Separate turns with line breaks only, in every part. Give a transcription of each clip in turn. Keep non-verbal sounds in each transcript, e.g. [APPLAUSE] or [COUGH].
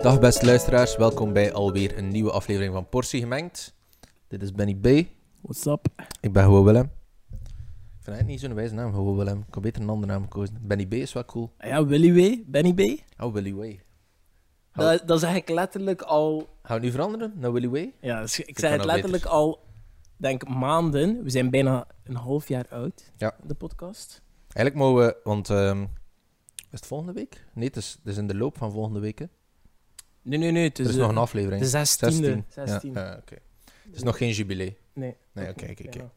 Dag beste luisteraars, welkom bij alweer een nieuwe aflevering van Portie Gemengd. Dit is Benny B.
What's up?
Ik ben gewoon Willem. Ik vind het niet zo'n wijze naam, gewoon Willem. Ik kan beter een andere naam kozen. Benny B is wel cool.
Ah Ja, Willy W, Benny B.
Oh, Willy Way.
Dat, dat zeg ik letterlijk al...
Gaan we nu veranderen naar Willy Way?
Ja, dus ik
kan
zeg het
dat
letterlijk al, denk maanden. We zijn bijna een half jaar oud,
Ja.
de podcast.
Eigenlijk mogen we, want ehm, is het volgende week? Nee, het is, het is in de loop van volgende week. hè.
Nee, nee, nee. Het is,
er is
eh,
nog een aflevering.
de zestiende.
16.
Zestiende.
Ja, ja, oké. Het is nog geen jubilee.
Nee.
Nee,
nog
oké,
niet,
oké, oké.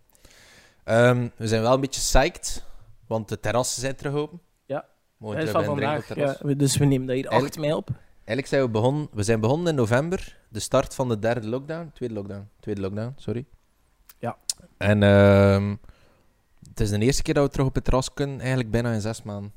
bijna.
Ehm, we zijn wel een beetje psyched, want de terrassen zijn terug open.
Ja.
Mooi
Het is van vandaag, ja, we- dus we nemen dat hier
Eigenlijk-
8 mei op.
Eigenlijk zijn we begonnen, we zijn begonnen in november, de start van de derde lockdown, tweede lockdown, tweede lockdown, sorry.
Ja.
En ehm, het is de eerste keer dat we terug op het terras kunnen, eigenlijk bijna in zes maanden.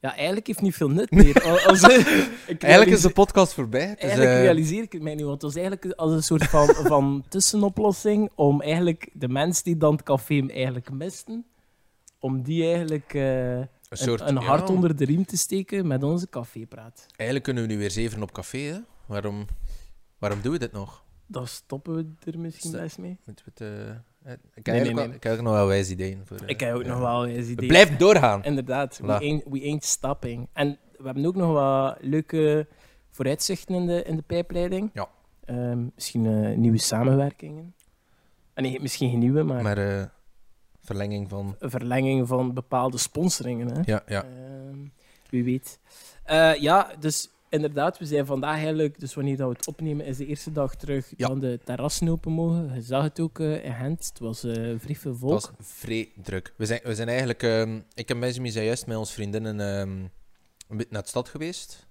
Ja, eigenlijk heeft niet veel
[LAUGHS]
nut meer. Al- [LAUGHS] als- ik
Eigenlijk is
[LAUGHS] realise-
de podcast voorbij. Het is,
Eigenlijk
eh,
realiseer ik het mij nu, want het was eigenlijk als een soort
[LAUGHS]
van, van tussenoplossing om eigenlijk de mensen die dan het café eigenlijk misten, om die eigenlijk eh,
een
een,
soort,
een hart
ja,
onder de riem te steken met onze cafépraat.
Eigenlijk kunnen we nu weer zeven op café, hè? Waarom, waarom doen we dit nog?
Dan stoppen we er misschien
Is dat-
best mee.
Moeten we het, eh, ik, heb
nee,
eigenlijk wel-
nee.
ik heb ook nog wel wijze ideeën voor. eh,
Ik heb ook
ja.
nog wel eens
Het
ideeën.
blijft doorgaan.
Inderdaad, we
Voilà.
ain't, we ain't stopping. En we hebben ook nog wat leuke vooruitzichten in de, in de pijpleiding.
Ja.
Ehm, misschien eh, nieuwe samenwerkingen. Ah, nee, misschien geen nieuwe, maar,
Maar eh, verlenging van.
een verlenging van bepaalde sponsoringen. Hè?
Ja, ja.
Ehm, wie weet. Eh, ja, dus inderdaad, we zijn vandaag eigenlijk, dus wanneer dat we het opnemen, is de eerste dag terug
Ja.
dan de terrassen open mogen. Je zag het ook eh, in Gent, het was eh vrij veel volk.
Het was vrij druk. We zijn, we zijn eigenlijk... ehm, ik en Benjamin zijn juist met onze vriendinnen ehm, een beetje naar de stad geweest.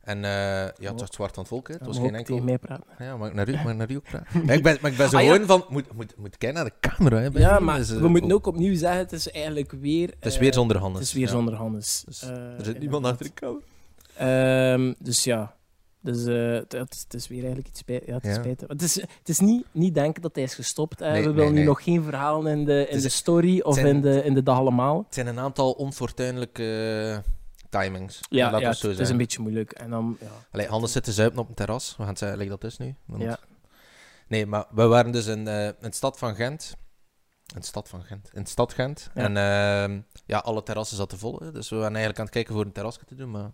En eh, ja, het was het zwart van het volk. Hè. Het
Ja,
was
maar
geen
ook
enkel...
tegen mij praten.
Ja, maar naar u, maar naar u ook
[LAUGHS]
praten. Maar ik ben, maar ik ben zo
Ah, ja.
gewoon van... Moet, moet, moet kijken naar de camera, hè,
Ja,
Benjamin.
maar
Dus, eh,
we moeten ook opnieuw zeggen, het is eigenlijk weer...
Het is
eh,
weer zonder handen.
Het is weer zonder Hannes.
Dus
Eh,
Er zit niemand
inderdaad.
achter de camera.
Ehm, dus ja, dus, eh, het, het is- het is weer eigenlijk iets spijtig. Ja, het, is
Ja.
spijtig. Het is, het is niet, niet denken dat hij is gestopt. hè.
Nee,
we
nee,
willen
nee.
nu nog geen verhalen in de, in
is-
de story of
zijn-
in, de, in de dag allemaal.
Het zijn een aantal onfortuinlijke eh, timings.
Ja,
laten
ja,
we het zo
het is
zeggen.
een beetje moeilijk. En dan, ja.
Allee, anders zitten zuipen op het terras. We gaan het zeggen, like dat is nu. Want-
Ja.
Nee, maar we waren dus in, eh in de stad van Gent. In de stad van Gent. In de stad Gent.
Ja.
En ehm, ja, alle terrassen zaten vol. hè. Dus we waren eigenlijk aan het kijken voor een terrasje te doen, maar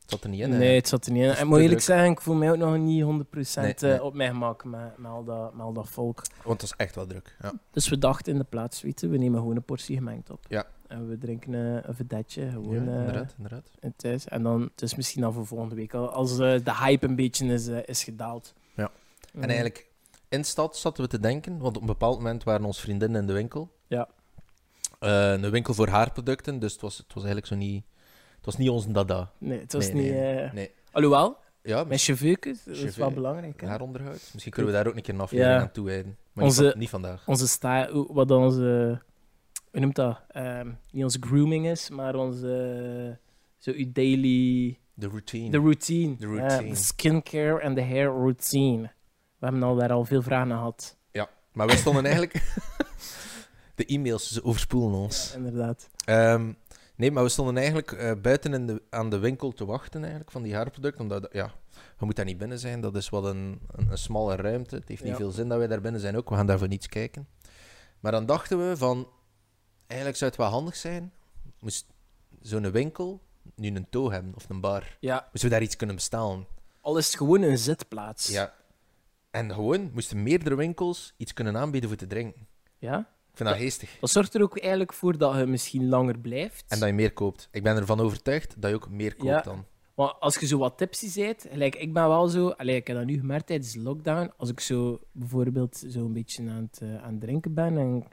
het zat er niet in. hè.
Nee, het zat er niet in.
Dat is
En ik moet
te
eerlijk
druk.
zeggen, ik voel mij ook nog niet 100% eh,
Nee, nee.
op mijn gemak met, met, al dat, met al dat volk.
Want het was echt wel druk. Ja.
Dus we dachten in de plaats, weet je, we nemen gewoon een portie gemengd op.
Ja.
En we drinken eh, een vedetje,
Ja,
gewoon eh,
inderdaad, inderdaad.
in thuis. En dan, het is misschien dan voor volgende week, al- als eh, de hype een beetje is, eh, is gedaald.
Ja.
Mm.
En eigenlijk, in de stad zaten we te denken, want op een bepaald moment waren onze vriendinnen in de winkel.
Ja.
Eh, een winkel voor haarproducten, dus het was, het was eigenlijk zo niet... Het was niet onze dada.
Nee, het was
Nee,
niet...
nee,
eh,
nee.
Alhoewel,
Ja,
mijn cheveukes, dat is
Cheveux,
wel belangrijk. hè.
haar onderhoud. Misschien kunnen we daar ook een keer een aflevering
Ja.
aan toewijden. Maar niet
Onze-
van- niet vandaag.
onze sta hoe- wat dan onze hoe noemt dat Ehm, niet onze grooming is maar onze zo uw daily
De routine.
de routine
De
Ja,
routine.
de skincare en de hair routine we hebben al daar al veel vragen aan gehad
Maar wij
[LAUGHS]
stonden eigenlijk. [LAUGHS] de e-mails ze overspoelen ons.
Ja, inderdaad
Ehm, nee, maar we stonden eigenlijk eh, buiten in de, aan de winkel te wachten eigenlijk, van die haarproducten. Omdat, dat- ja, we moeten daar niet binnen zijn. Dat is wat een, een, een smalle ruimte. Het heeft niet
Ja.
veel zin dat wij daar binnen zijn ook. We gaan daarvoor niets kijken. Maar dan dachten we van... Eigenlijk zou het wel handig zijn. Moest zo'n winkel nu een tow hebben of een bar.
ja
Moesten we daar iets kunnen bestellen?
al is het gewoon een zitplaats
Ja. En gewoon moesten meerdere winkels iets kunnen aanbieden voor te drinken.
ja
Ik vind dat geestig.
dat zorgt er ook eigenlijk voor dat je misschien langer blijft
En dat je meer koopt. Ik ben ervan overtuigd dat je ook meer koopt
Ja.
dan.
Want als je zo wat tipsy bent, gelijk, ik ben wel zo, allee, ik heb dat nu gemerkt tijdens de lockdown, als ik zo bijvoorbeeld zo een beetje aan het, eh, aan het drinken ben en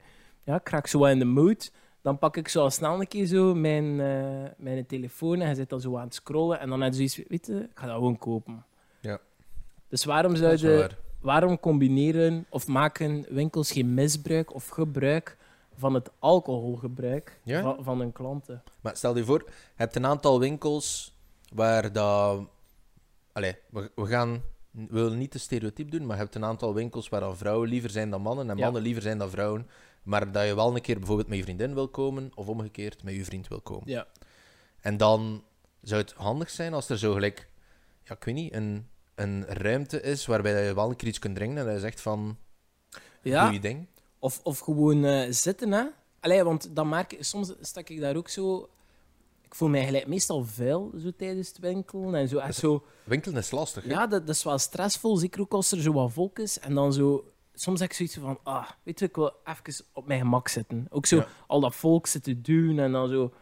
ja, ik raak zo wat in de mood, dan pak ik zo al snel een keer zo mijn, eh, mijn telefoon en je zit dan zo aan het scrollen en dan heb je zoiets, weet je, ik ga dat gewoon kopen.
Ja.
Dus waarom
Dat
zou
is
je,
waar.
waarom combineren of maken winkels geen misbruik of gebruik van het alcoholgebruik
Ja.
van, van hun klanten?
Maar stel je voor, je hebt een aantal winkels waar dat... Allee, we, we gaan... We willen niet de stereotype doen, maar je hebt een aantal winkels waar dan vrouwen liever zijn dan mannen en
Ja.
mannen liever zijn dan vrouwen. Maar dat je wel een keer bijvoorbeeld met je vriendin wil komen of omgekeerd met je vriend wil komen.
Ja.
En dan zou het handig zijn als er zo gelijk ja, ik weet niet, een, een ruimte is waarbij dat je wel een keer iets kunt drinken en dat je zegt van, doe
Ja,
je ding.
of, of gewoon eh, zitten, hè. Allee, want dan merk ik, soms stak ik daar ook zo... Ik voel mij gelijk meestal vuil, zo tijdens het winkelen en zo. Echt zo
Winkelen is lastig, hè?
Ja, dat, dat is wel stressvol, zeker ook als er zo wat volk is. En dan zo, soms heb ik zoiets van, ah, weet je, ik wil even op mijn gemak zitten. Ook zo,
Ja.
al dat volk zitten duwen en dan zo.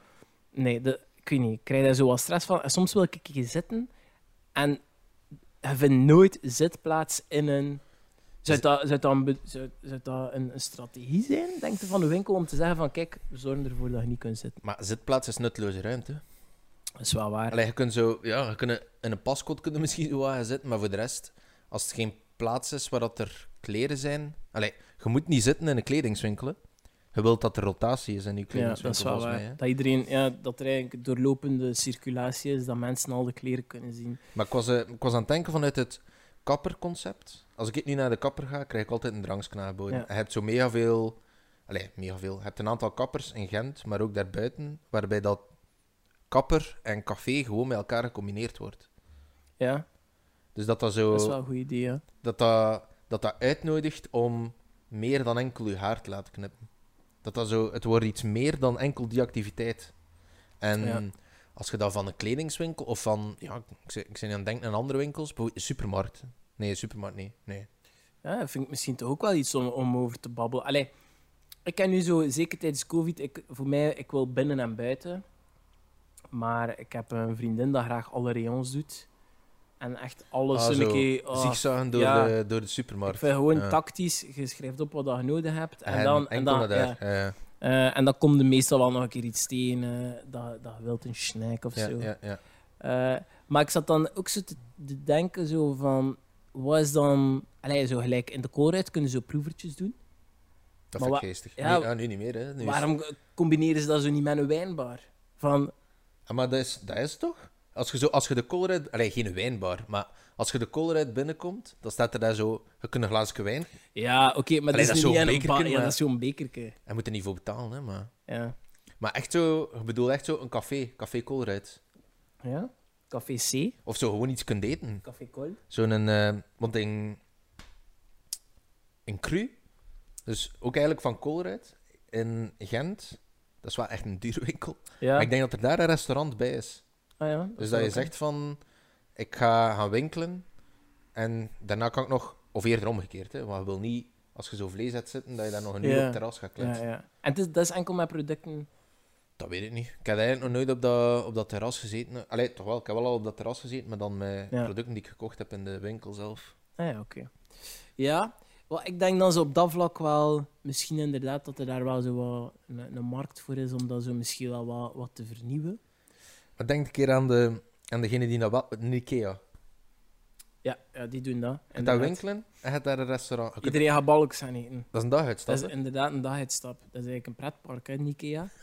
Nee, dat, ik weet niet, ik krijg daar zo wat stress van. En soms wil ik een keer zitten en je vindt nooit zitplaats in een... Zou dat, zou dat, een, be- zou, zou dat een, een strategie zijn, denk je, van de winkel, om te zeggen van, kijk, we zorgen ervoor dat je niet kunt zitten.
Maar zitplaats is nutteloze ruimte.
Dat is wel waar.
Allee, je kunt zo, ja, je kunt in een pascode kunnen [LAUGHS] misschien zo wat gaan zitten, maar voor de rest, als het geen plaats is waar dat er kleren zijn. Allee, je moet niet zitten in een kledingswinkel. hè. Je wilt dat er rotatie is in die
Ja,
kledingswinkel,
dat is wel
volgens
waar.
mij. hè.
dat, iedereen, ja, dat er eigenlijk doorlopende circulatie is, dat mensen al de kleren kunnen zien.
Maar ik was, eh, ik was aan het denken vanuit het kapperconcept. Als ik nu naar de kapper ga, krijg ik altijd een dranksknaar aangeboden.
Ja.
Je hebt zo mega veel... Allee, mega veel. Je hebt een aantal kappers in Gent, maar ook daarbuiten, waarbij dat kapper en café gewoon met elkaar gecombineerd wordt.
Ja,
Dus dat dat zo...
dat is wel een goed idee. ja.
dat dat, dat dat uitnodigt om meer dan enkel je haar te laten knippen. Dat dat zo, het wordt iets meer dan enkel die activiteit. En
Ja.
als je dat van een kledingswinkel of van, ja, ik, zit- ik ben aan het denken aan andere winkels, bijvoorbeeld een supermarkt. Nee, een supermarkt niet. Nee.
Ja, dat vind ik misschien toch ook wel iets om, om over te babbelen. Allee, ik ken nu zo, zeker tijdens COVID, ik, voor mij, ik wil binnen en buiten. Maar ik heb een vriendin dat graag alle rayons doet. En echt alles
Ah,
in
zo.
een keer... ah,
Zigzaggen door,
ja.
de, door de
ik
supermarkt.
vind gewoon
Ja.
tactisch, je schrijft op wat dat je nodig hebt. En,
En
dan... En
enkel
dan
naar
ja.
daar. Ja,
Eh, en dan komt er meestal wel nog een keer iets tegen eh, dat, dat je wilt een snack of
ja,
zo.
ja, ja.
Eh, maar ik zat dan ook zo te, te denken zo van... Wat is dan... Allee, zo gelijk in de koolruit kunnen ze zo proevertjes doen.
Dat
Maar
vind
wa-
ik geestig.
ja,
nu, ah, nu niet meer, hè. Nu is-
Waarom combineren ze dat zo niet met een wijnbar? Van,
Ah, maar dat is, dat is het toch? Als je, zo, als je de koolruit... Allee, geen wijnbar, maar als je de koolruit binnenkomt, dan staat er daar zo... Je kunt een glaasje wijn...
ja, oké,
Allee,
maar dat is
dat is
niet
zo'n
aan een
bekerke,
bar. Ja,
maar-
dat is zo'n bekerke.
Hij moet er niet voor betalen, hè, maar...
Ja.
Maar echt zo, ik bedoel echt zo een café, café Colruyt.
ja. Café C,
Of zo gewoon iets kunt eten.
Café Col.
Zo'n, eh, want in, in Cru, dus ook eigenlijk van Colruyt, in Gent, dat is wel echt een duur winkel.
Ja.
Maar ik denk dat er daar een restaurant bij is.
Ah, ja
Dus dat je
is
zegt van, ik ga gaan winkelen en daarna kan ik nog, of eerder omgekeerd, hè, want je wil niet, als je zo vlees hebt zitten, dat je daar nog een uur
Ja.
op het terras gaat kletsen.
Ja, ja. En het is, dat is enkel met producten...
Dat weet ik niet. Ik heb eigenlijk nog nooit op dat, op dat terras gezeten. Allee, toch wel. Ik heb wel al op dat terras gezeten, maar dan met
Ja.
producten die ik gekocht heb in de winkel zelf.
Ah, ja, oké. Ja, wel, ik denk dan ze op dat vlak wel, misschien inderdaad, dat er daar wel zo wat een, een markt voor is om dat zo misschien wel wat, wat te vernieuwen.
Maar denk een keer aan, de, aan degene die naar wel- in Ikea.
Ja, ja die doen dat.
Je gaat daar
inderdaad.
winkelen en je gaat daar een restaurant. Je kunt-
Iedereen gaat balkjes gaan eten.
Dat is een daguitstap.
Dat is
hè?
inderdaad een daguitstap. Dat is eigenlijk een pretpark, hè, in Ikea. [LAUGHS]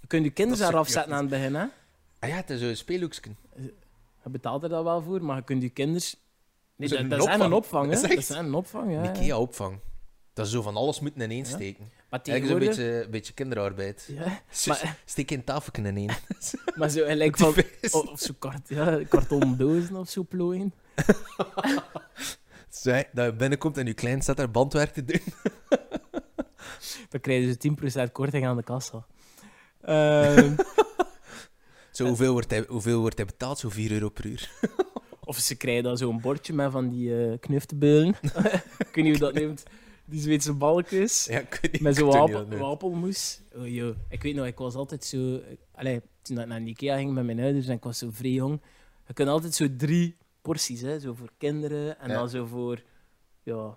Je kunt je
Dat
kinderen
is
daar
zo
afzetten
cute.
aan het begin, hè.
Ah ja, het is zo'n speelhoeksken.
Je betaalt er dat wel voor, maar je kunt je kinderen... Nee,
Dat is
dat,
een
dat is echt een opvang,
Dat
hè.
is
Dat
echt
is echt een opvang, ja.
Een
ja.
Ikea-opvang. Dat is zo van alles moeten ineen
Ja.
steken.
Maar
Eigenlijk zo'n
tegenwoordig...
beetje, een beetje kinderarbeid.
Ja,
Dus
maar-
Steek een tafelken ineen.
maar zo gelijk van... oh, Of, of zo kart, ja, karton dozen of zo plooien.
[LAUGHS] Zij, dat je binnenkomt en je klein staat daar bandwerk te doen.
Dan krijgen ze 10% korting aan de
[LAUGHS]
kassa. Ehm,
Zo, hoeveel wordt hij, hoeveel wordt hij betaald? Zo 4 euro per uur.
of ze krijgen dan zo'n bordje met van die eh knuftebeulen. [LAUGHS] ik weet niet hoe dat neemt. Die Zweedse balkjes.
Ja, ik weet [LAUGHS] niet.
Met
ik
zo'n
weet niet
wapel-
wat het noemt.
wapelmoes. Oh, yo. Ik weet nog, ik was altijd zo... Allee, toen ik naar de Ikea ging met mijn ouders en ik was zo vrij jong. Je kunt altijd zo drie porties, hè. Zo voor kinderen en
Ja.
dan zo voor ja,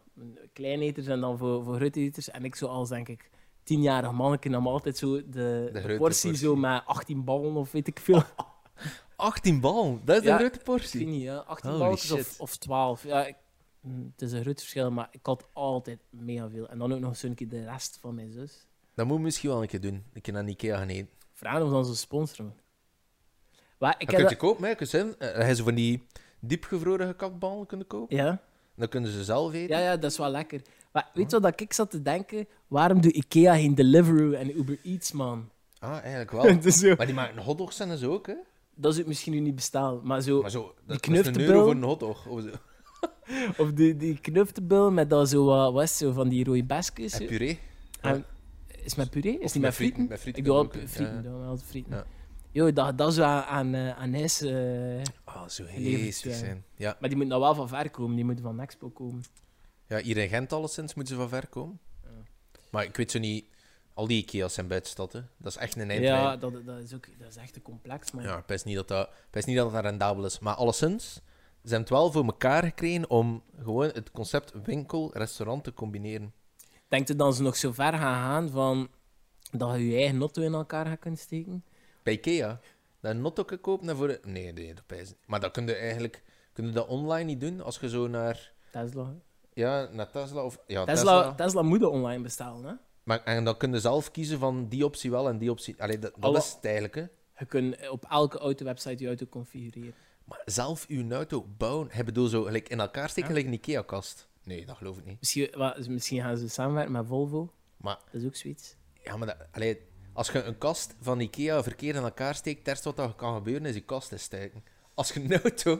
kleineters en dan voor, voor grooteters. En ik zo als, denk ik, tienjarig manneke nam altijd zo de, de
grote
portie,
portie.
zo met 18 ballen of weet ik veel.
18 bal, dat is
Ja,
een grote
Ik weet
portie.
niet, hè. 18
Holy
balkjes
shit.
of, of 12. Ja, ik- mm, het is een groot verschil, maar ik had altijd mega veel. En dan ook nog zo'n keer de rest van mijn zus.
Dat moet je misschien wel een keer doen. Een keer naar Ikea gaan eten.
Vragen of dan ze sponsoren. Maar ik
Ik
heb
kun je
dat...
kopen, hè. Kun je ze- eh, Hij ze van die diepgevroren gekapballen kunnen kopen.
Ja?
Dan kunnen ze zelf eten.
Ja, ja, dat is wel lekker. Maar weet je wat dat ik zat te denken? Waarom doet Ikea geen Deliveroo en Uber Eats, man?
Ah, eigenlijk wel.
[LAUGHS] Dus zo-
maar die maken hotdogs en zo ook, hè.
dat zou misschien nu niet bestaan. Maar zo,
Maar zo,
Die
dat kost een
knuftenbul.
euro voor een hotdog. Of zo.
of die, die knuftenbul met dat zo, wat was het, zo van die rode besjes. zo.
En puree.
En- is het met puree? Is
Of
die met frieten?
Met frieten
Ik doe
kan
altijd
ook,
frieten,
ja.
ik doe altijd frieten.
Ja.
Yo, dat, dat zou aan, eh, aan ijs... eh,
Ah, zo
Geleverd
geestig
zijn.
zijn. Ja.
maar die moet nou wel van ver komen, die moet van Expo komen.
ja, hier in Gent alleszins moeten ze van ver komen.
Ja.
Maar ik weet zo niet... Al die Ikea's zijn buitenstad, hè. Dat is echt een eindlijn.
Ja,
Ja,
dat, dat, is ook, dat is echt een complex, man.
ja ik wist niet dat dat, ik wist niet dat dat rendabel is. Maar alleszins, ze hebben het wel voor elkaar gekregen om gewoon het concept winkel-restaurant te combineren.
Denk je dan ze nog zo ver gaan gaan van dat je je eigen auto in elkaar gaat kunnen steken?
Bij Ikea, dat een notto kan kopen en voor... Nee, nee, dat is niet. Maar dat kun je eigenlijk... Kun je dat online niet doen als je zo naar...
Tesla.
Ja, naar Tesla of... Ja,
Tesla, Tesla. moet je online bestellen, hè?
Maar, en dan kun je zelf kiezen van die optie wel en die optie... Allee, dat, dat
Alle-
is het eigenlijk, hè.
Je kunt op elke auto-website je auto configureren.
Maar zelf uw auto bouwen, hebben door zo gelijk in elkaar steken
Ja.
gelijk een IKEA-kast. Nee, dat geloof ik niet.
Misschien, wa- misschien gaan ze samenwerken met Volvo.
Maar-
Dat is ook zoiets.
Ja, maar dat, allee, als je een kast van IKEA verkeerd in elkaar steekt, het eerste wat er kan gebeuren is die kast te steken. Als je een auto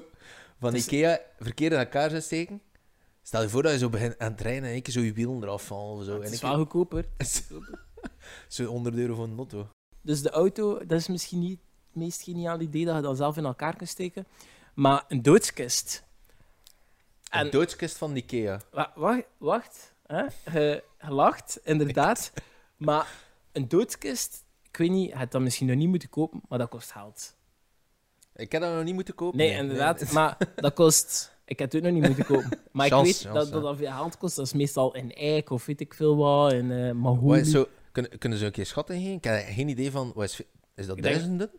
van
Dus-
IKEA verkeerd in elkaar zou steken, stel je voor dat je zo begint aan het rijden en één keer zo je wielen eraf vallen of zo.
Maar het
en
is
één [LAUGHS]
wel goedkoper.
keer- zo 100 euro voor een auto.
Dus de auto, dat is misschien niet het meest geniale idee dat je dat zelf in elkaar kunt steken. Maar een doodskist. En-
Een doodskist van IKEA.
Wa- Wacht, wacht. Hè? Je, je lacht,
[LAUGHS]
inderdaad. Maar een doodskist, ik weet niet, je had dat misschien nog niet moeten kopen, maar dat kost geld.
Ik heb dat nog niet moeten kopen.
Nee,
[LAUGHS]
inderdaad, maar dat kost... Ik heb het ook nog niet moeten kopen. Maar
Chance,
ik weet
chance,
dat dat, dat veel geld kost. Dat is meestal in eik of weet ik veel wat, in eh
Wat
mahonie.
is zo, kunnen, kunnen ze een keer schatten heen? Ik heb geen idee van. Wat is, is dat
Ik denk-
duizenden?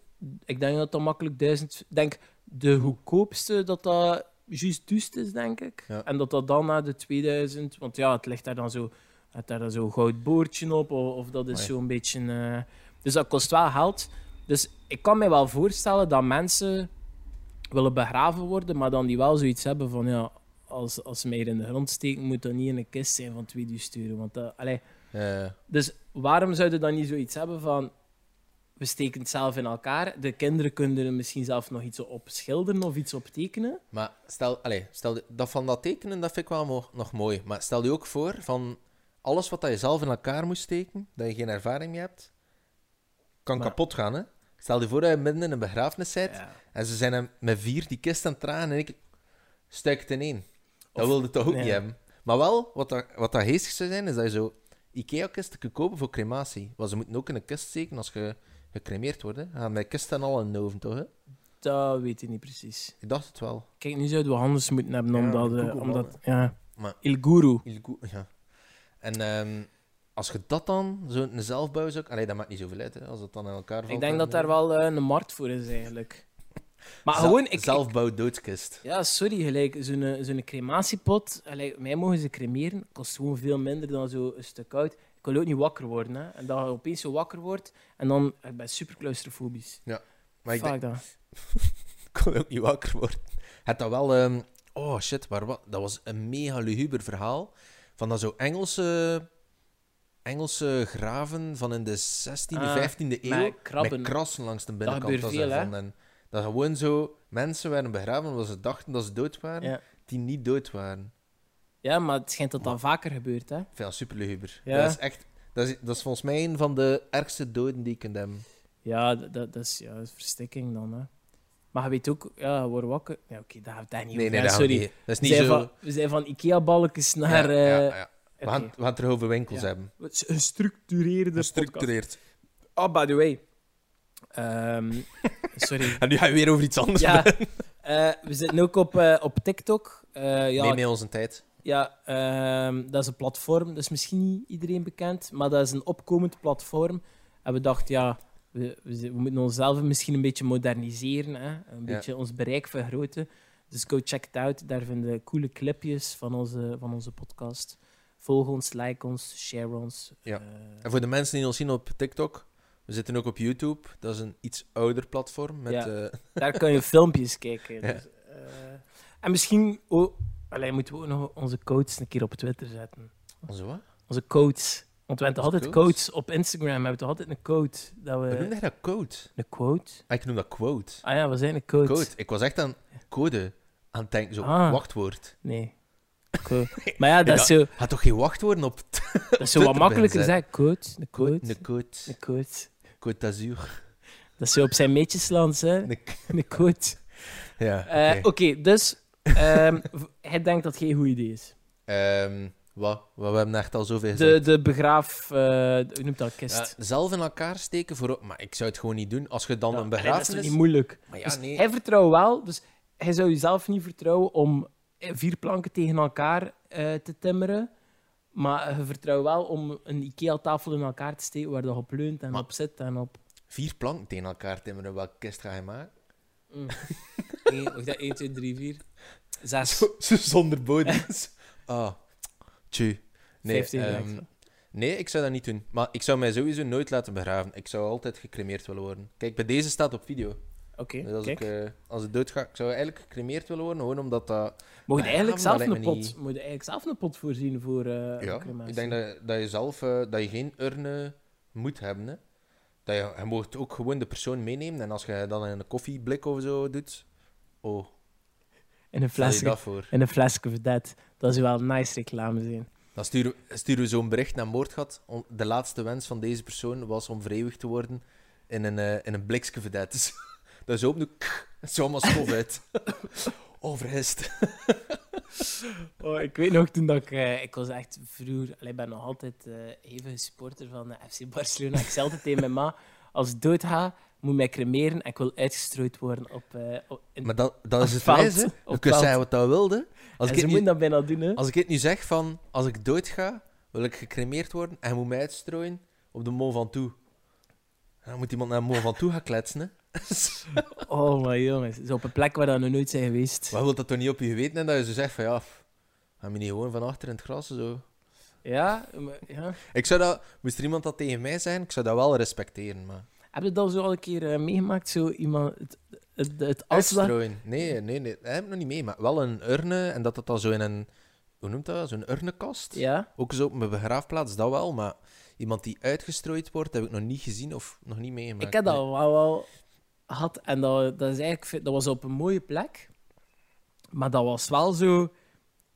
Ik denk dat dat makkelijk duizend... Ik denk, de goedkoopste, dat dat juist duist is, denk ik.
Ja.
En dat dat dan naar de 2000... Want ja, het ligt daar dan zo... Het daar dan zo'n goud boordje op, of, of dat is
Amai.
zo'n beetje... eh, dus dat kost wel geld. Dus ik kan me wel voorstellen dat mensen willen begraven worden, maar dan die wel zoiets hebben van... ja als, als ze mij hier in de grond steken, moet dat niet in een kist zijn van 2000 euro. Want dat, allee,
Eh,
dus waarom zouden dan niet zoiets hebben van. We steken het zelf in elkaar. De kinderen kunnen er misschien zelf nog iets op schilderen of iets op tekenen.
maar stel, allez, stel dat van dat tekenen, dat vind ik wel mo- nog mooi. Maar stel je ook voor van alles wat dat je zelf in elkaar moest steken, dat je geen ervaring mee hebt, kan
Maar-
kapot gaan. Hè? Stel je voor dat je midden in een begrafenis bent
Ja.
en ze zijn hem met vier die kist aan het dragen en ik stuik het in één. Dat
Of-
wilde toch ook
nee.
niet hebben. Maar wel, wat dat, wat dat geestig zou zijn, is dat je zo IKEA-kisten kunt kopen voor crematie. Want ze moeten ook in een kist steken als je gecremeerd wordt. hè. Gaan met kisten al in de oven, toch? Hè?
Dat weet ik niet precies.
Ik dacht het wel.
Kijk, nu zouden we handels moeten hebben
Ja,
omdat.
Google
eh,
wel,
omdat ja.
Maar-
Il Guru.
Il Gu- Ja. En ehm, als je dat dan, zo'n zelfbouw zou... Allee, dat maakt niet zoveel uit, hè, als dat dan in elkaar valt.
Ik denk
en-
dat daar wel eh, een markt voor is eigenlijk. Maar
Zel-
gewoon, ik, ik-
Zelfbouw doodskist.
Ja, sorry, gelijk, zo'n eh, zo'n crematiepot, allee, mij mogen ze cremeren, kost gewoon veel minder dan zo'n stuk koud. Ik wil ook niet wakker worden, hè. En dat je opeens zo wakker wordt, en dan, ik ben super claustrofobisch.
Maar ik, denk,
Fuck dat.
[LAUGHS] ik kon ook niet wakker worden. Het dat wel... ehm, oh, shit, waar, wat, dat was een mega luguber verhaal. Van dat zo Engelse... Engelse graven van in de 16e,
Ah,
15e eeuw.
Met krabben.
Met krassen langs de binnenkant.
gebeurt
ze
veel, hè?
vonden. En dat gewoon zo mensen werden begraven omdat ze dachten dat ze dood waren,
Ja.
die niet dood waren.
ja, maar het schijnt dat dat vaker gebeurt, hè.
Veel superluguber.
Ja.
Dat is echt... Dat is, dat is volgens mij een van de ergste doden die ik kunt hebben.
Ja, dat, dat, dat is, ja, dat is verstikking dan, hè. Maar je weet ook, ja, je wordt wakker... Ja, oké, dat gaat daar niet over, hè,
dat,
sorry.
dat is
We
niet
zijn,
zo...
van, we zijn van Ikea-balkjes
Ja,
naar...
ja,
eh,
ja. We,
oké.
gaan, we gaan het er over winkels
Ja.
hebben.
Een structureerde podcast.
Gestructureerd.
Oh, by the way.
[LAUGHS]
Ehm, sorry.
En nu ga je weer over iets anders [LAUGHS]
Ja, eh, we zitten ook op, eh, op TikTok. Eh, ja,
Neem mee onze tijd.
ja ehm, dat is een platform. Dat is misschien niet iedereen bekend, maar dat is een opkomend platform. En we dachten, ja, we, we, zi- we moeten onszelf misschien een beetje moderniseren. Hè? Een
Ja.
beetje ons bereik vergroten. Dus go check it out. Daar vinden we coole clipjes van onze, van onze podcast. Volg ons, like ons, share ons.
Ja.
Eh,
En voor de mensen die ons zien op TikTok, we zitten ook op YouTube. Dat is een iets ouder platform. Met,
Ja.
eh,
Daar kun je filmpjes kijken.
Ja.
Dus, eh, en misschien oh, allee, moeten we ook nog onze codes een keer op Twitter zetten.
onze wat?
Onze codes. Want we hebben toch
Wat
altijd
quotes?
quotes op Instagram. We hebben toch altijd een quote. Dat
We noemen
we...
echt dat quote.
Een quote?
Ah, Ik noem dat quote.
Ah ja, wat zijn een quote?
Code. Ik was echt aan code aan het denken. Zo,
Ah.
wachtwoord.
Nee.
[LAUGHS]
Quote. Maar ja, dat is zo,
Had toch geen wachtwoorden op t-
dat is zo wat
Twitter
makkelijker.
ben,
Zeg, quote, een quote,
Een code.
een quote.
Code d'Azur.
Dat is zo op zijn meetjeslands, hè.
Een k-
[LAUGHS] Een quote.
Ja, oké.
Eh, Oké, dus ehm, [LAUGHS] v- hij denkt dat het geen goed idee is.
Ehm, wat? wat? We hebben echt al zoveel
De,
gezegd.
de begraaf... eh hoe noemt dat? Kist.
Ja, zelf in elkaar steken voor... Maar ik zou het gewoon niet doen. Als je dan
Ja,
een
allee, dat is
begrafenis...
toch niet moeilijk?
Maar ja,
Dus
nee.
Hij vertrouwt wel, dus hij zou jezelf niet vertrouwen om eh, vier planken tegen elkaar eh, te timmeren. Maar je vertrouwt wel om een IKEA-tafel in elkaar te steken waar dat op leunt en
Maar-
op zit en op...
Vier planken tegen elkaar timmeren. Welke kist ga je maken?
Mm.
[LAUGHS]
of dat 1, 2, 3, 4,
[LAUGHS]
6,
Zo- zo Zonder
[LAUGHS]
bodem. Ah. Tju. Nee,
15.
ehm, Nee, ik zou dat niet doen. Maar ik zou mij sowieso nooit laten begraven. Ik zou altijd gecremeerd willen worden. Kijk, bij deze staat op video.
Oké,
Dus als,
kijk.
ik, eh, als ik doodga, ik zou eigenlijk gecremeerd willen worden, gewoon omdat dat...
Mocht je eigenlijk
ja,
zelf
maar
een
lijkt me
pot,
niet-
moet je eigenlijk zelf een pot voorzien voor
ja,
eh een crematie?
ik denk dat, dat je zelf eh, dat je geen urne moet hebben. Hè. Dat je, je mag ook gewoon de persoon meenemen. En als je dan in een koffieblik of zo doet... Oh,
In een
stel je
flesje,
dat voor.
in een flesje of dat. Dat zou wel een nice reclame zijn.
Dan sturen, we- sturen we zo'n bericht naar Moordgat. Om, de laatste wens van deze persoon was om vereeuwigd te worden in een, eh in een blikske vedette. Dus, [LAUGHS] dat is ook nu... Het is allemaal stof
[LAUGHS]
uit. Oh, vergist.
[LAUGHS] Oh, ik weet nog toen dat ik... eh, ik was echt vroeger... allee, Ik ben nog altijd eh even supporter van de FC Barcelona. Ik zei altijd tegen mijn ma, als ik doodga, moet mij cremeren en ik wil uitgestrooid worden op... eh, op in-
Maar dat, dat is
Op
het
veld,
wijze.
op
Je kunt
veld.
zeggen wat dat wilde. Als
en
ik, het nu,
ze moeten dat bijna doen, hè.
als ik het nu zeg van... Als ik doodga, wil ik gecremeerd worden en je moet mij uitstrooien op de Mont Ventoux. En Dan moet iemand naar Mont Ventoux gaan kletsen, hè.
Oh, maar jongens. Zo op een plek waar dat nog nooit zijn geweest.
Maar wil dat toch niet op je geweten en dat je zo zegt van... Ja, f- ga me niet gewoon van achter in het gras zo.
Ja, maar- ja.
Ik zou dat... Moest er iemand dat tegen mij zijn, ik zou dat wel respecteren, maar...
Heb je dat zo al een keer eh, meegemaakt? Zo iemand... Het, het, het afslag...
Uitstrooien. Nee, nee, nee. Dat heb ik nog niet mee, maar wel een urne en dat dat dan zo in een... Hoe noemt dat? Zo'n urnekast?
Ja?
Ook zo op mijn begraafplaats, dat wel, maar iemand die uitgestrooid wordt, heb ik nog niet gezien of nog niet meegemaakt.
Ik heb dat wel, wel gehad. En dat, dat, is eigenlijk, dat was op een mooie plek. Maar dat was wel zo...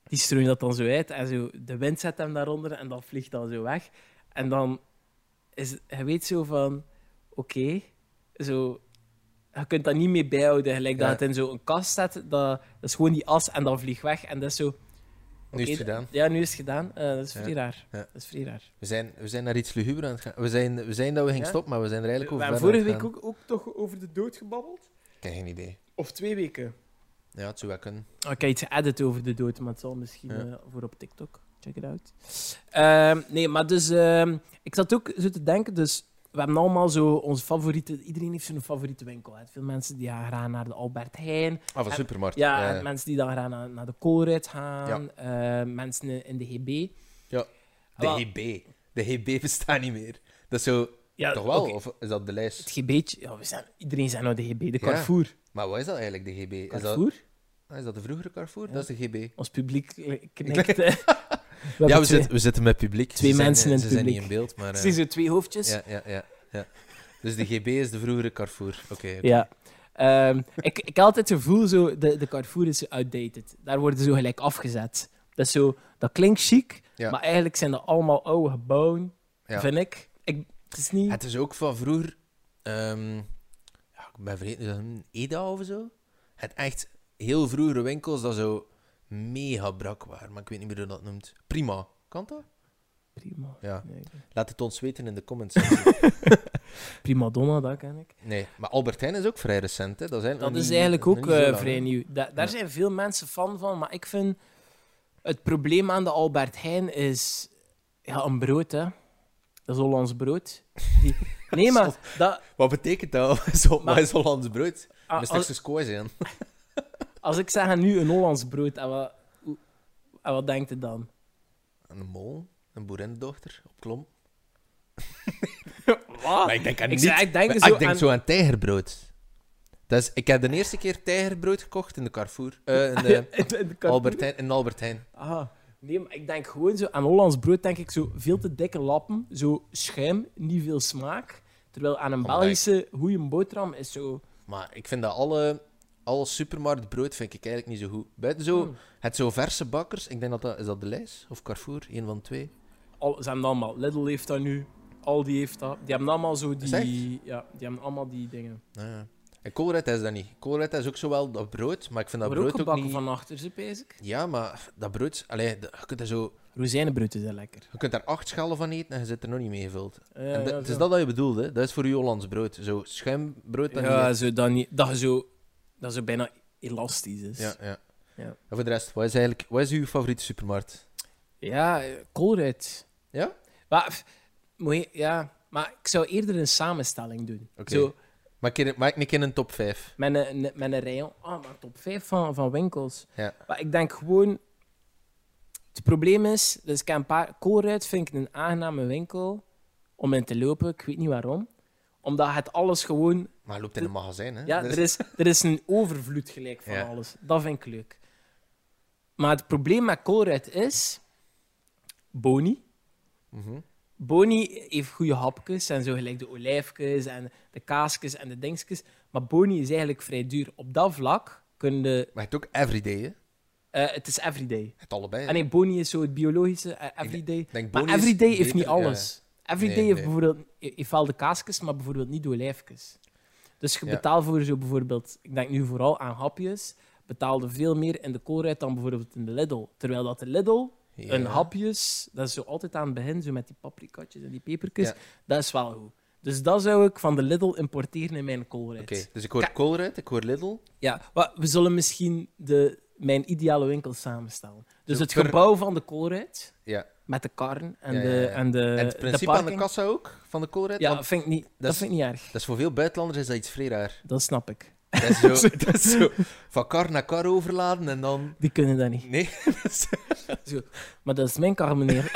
Die strooien dat dan zo uit. En zo, de wind zet hem daaronder. En dan vliegt dat zo weg. En dan is... het- Je weet zo van... Oké. zo... Je kunt dat niet meer bijhouden. Gelijk
Ja.
dat het in zo'n kast staat. Dat, dat is gewoon die as. En dan vliegt weg. En dat is zo...
Nee. Nu is het
oké,
gedaan.
Ja, nu is het gedaan. Eh, dat is
Ja.
vrij raar.
Ja.
Dat is vrij raar.
We zijn, we zijn naar iets luguber aan het gaan. We zijn, we zijn dat we gingen
Ja?
stoppen, maar we zijn er eigenlijk
We
over
hebben
verder
vorige
aan
week
het
ook, ook toch over de dood gebabbeld?
gaan. Ik heb geen idee.
Of twee weken?
Ja, het zou wel kunnen.
Oh, Ik heb iets geëdit over de dood, maar het zal misschien
Ja.
eh, voor op TikTok. Check it out. Ehm, nee, maar dus... ehm, ik zat ook zo te denken, dus... We hebben allemaal zo onze favoriete... Iedereen heeft zo'n favoriete winkel. Hè. Veel mensen die gaan graag naar de Albert Heijn.
Ah, van
En-
supermarkt.
Ja,
Eh,
en mensen die dan graag naar, naar de Colruyt gaan. eh, mensen in de Ah, GB.
Ja. de
Wel,
HB. De HB bestaat niet meer. Dat is zo...
ja,
toch wel?
oké,
Of is dat de
Het
lijst?
GB'tje... Ja, we zijn, iedereen zijn nou de GB. De Carrefour.
Maar wat is dat eigenlijk, de HB? Is dat,
Carrefour?
ah, is dat de vroegere Carrefour?
Ja.
Dat is de GB.
Ons publiek
[LAUGHS]
eh, knikt. hè. [LAUGHS]
ja,
we hebben
we,
twee-
zitten we zitten met publiek.
twee
Ze zijn,
mensen
eh,
in
Ze
het
zijn niet in
publiek.
beeld, maar...
Het
eh,
zijn zo twee hoofdjes.
ja, ja, ja, ja. Dus de GB is de vroegere Carrefour. Oké. oké.
Ja. Ehm, ik, ik heb altijd het gevoel, zo, de, de Carrefour is outdated. Daar worden ze zo gelijk afgezet. Dat, is zo, dat klinkt chic,
Ja.
maar eigenlijk zijn dat allemaal oude gebouwen,
Ja.
vind ik. ik. Het is niet...
Het is ook van vroeger. ehm, ja, ik ben vergeten, is dat een Eda of zo? Het echt heel vroegere winkels dat zo mega brak waren. Maar ik weet niet meer hoe dat noemt. Prima. Kan dat?
Prima.
Ja.
Nee,
Laat het ons weten in de comments. [LAUGHS] sectie.
prima donna, dat ken ik.
nee, maar Albert Heijn is ook vrij recent. Hè? Dat is eigenlijk,
Dat
nog
is
niet-
eigenlijk
nog
ook
niet zo
eh,
lang,
vrij
hè.
nieuw. Da- daar
Ja.
zijn veel mensen fan van, maar ik vind... Het probleem aan de Albert Heijn is... Ja, een brood, hè. Dat is Hollands brood. Die-
[LAUGHS]
Nee, maar... Dat,
Wat betekent dat? [LAUGHS] Zo,
Maar-
maar Ah, is Hollands brood?
a-
Met
als-
stukjes kooi zijn.
Als ik zeg aan nu een Hollands brood, en wat, hoe- en wat denkt u dan?
Een mol, een boerendochter op klomp.
Wat?
Maar Ah, ik denk aan
ik
niet-
zeg, ik denk
Maar ah,
zo
ik denk
aan...
zo aan tijgerbrood. Dat is, ik heb de
[LAUGHS]
eerste keer tijgerbrood gekocht in de Carrefour. eh, in de
in de cartoon.
Albert Heijn, in Albert Heijn.
Ah, Nee, maar ik denk gewoon zo... Aan Hollands brood denk ik zo veel te dikke lappen. Zo schuim, niet veel smaak. Terwijl aan een
Omdat ik-
Belgische goede boterham is zo...
Maar ik vind dat alle, alle supermarktbrood vind ik eigenlijk niet zo goed. Buiten zo,
Hmm.
het zo verse bakkers, ik denk dat dat, is dat de lijst? Of Carrefour, een van de twee.
Al, ze hebben dat allemaal. Lidl heeft dat nu. Aldi heeft dat. Die hebben allemaal zo die...
Zeg.
Ja, die hebben allemaal die dingen.
Ah, ja. En Colruyt is dat niet. Colruyt is ook zowel dat brood, maar ik vind dat
maar ook
brood ook,
gebakken
niet...
van achter, ze bezig.
Ja, maar dat brood... Allee, dat- je, kunt er zo,
Rozijnenbrood is dat lekker.
je kunt daar acht schalen van eten en je zit er nog niet mee gevuld.
Eh,
En dat-
ja,
het
zo.
is dat dat je bedoelt, hè. Dat is voor je Hollands brood. Zo schuimbrood. Dat
Ja,
niet-
zo dat niet... Dat je zo... Dat zo bijna elastisch is.
ja, ja.
Dus Ja.
En voor de rest, wat is eigenlijk... Wat is uw favoriete supermarkt?
Ja, eh, Colruyt.
Ja?
Maar, pff, moet je- ja, maar ik zou eerder een samenstelling doen.
Oké.
Zo,
Maak, een- maak een keer een top 5.
met een, een- met een rayon. Ah, maar top 5 van, van winkels.
Ja.
Maar ik denk gewoon... Het probleem is, dus ik heb een paar... Colruyt vind ik een aangename winkel om in te lopen. Ik weet niet waarom. Omdat het alles gewoon...
Maar je loopt in een magazijn, hè.
Ja,
Dus-
er is, er is een overvloed gelijk van
Ja.
alles. Dat vind ik leuk. Maar het probleem met Colruyt is... Boni.
Mhm.
Boni heeft goede hapjes en zo gelijk de olijfjes en de kaasjes en de dingetjes. Maar Boni is eigenlijk vrij duur. Op dat vlak kun je...
Maar je hebt ook everyday, hè.
eh, het is everyday.
Het allebei. hè.
Ah nee, Boni is zo het biologische, eh, everyday.
Ik denk
Maar
Boni is
everyday heeft
beter,
niet
ja.
alles. Everyday
Nee,
heeft
nee.
bijvoorbeeld heeft wel de kaasjes, maar bijvoorbeeld niet de olijfjes. Dus je
Ja.
betaalt voor zo bijvoorbeeld... Ik denk nu vooral aan hapjes. Betaalde veel meer in de Colruyt dan bijvoorbeeld in de Lidl. Terwijl dat de Lidl
Ja.
een hapjes, dat is zo altijd aan het begin, zo met die paprikatjes en die peperkes.
Ja.
Dat is wel goed. Dus dat zou ik van de Lidl importeren in mijn Colruyt.
Oké, dus ik hoor Colruyt, ik hoor Lidl.
Ja, maar we zullen misschien de, mijn ideale winkel samenstellen. Dus
Zo
het
per-
gebouw van de Colruyt,
Ja.
met de karren en,
Ja, ja,
De,
ja.
en Eh, de
en het
de
principe aan
parking.
de kassa ook, van de Colruyt.
Ja,
want
dat vind, ik niet, dat,
dat is-
vind ik niet erg.
dat is voor veel buitenlanders is dat iets vrij raar.
Dat snap ik.
Dat is
[LAUGHS]
zo, dat is zo van kar naar kar overladen en dan...
Die kunnen dat niet.
Nee.
Maar dat is mijn
[LAUGHS]
kar, meneer.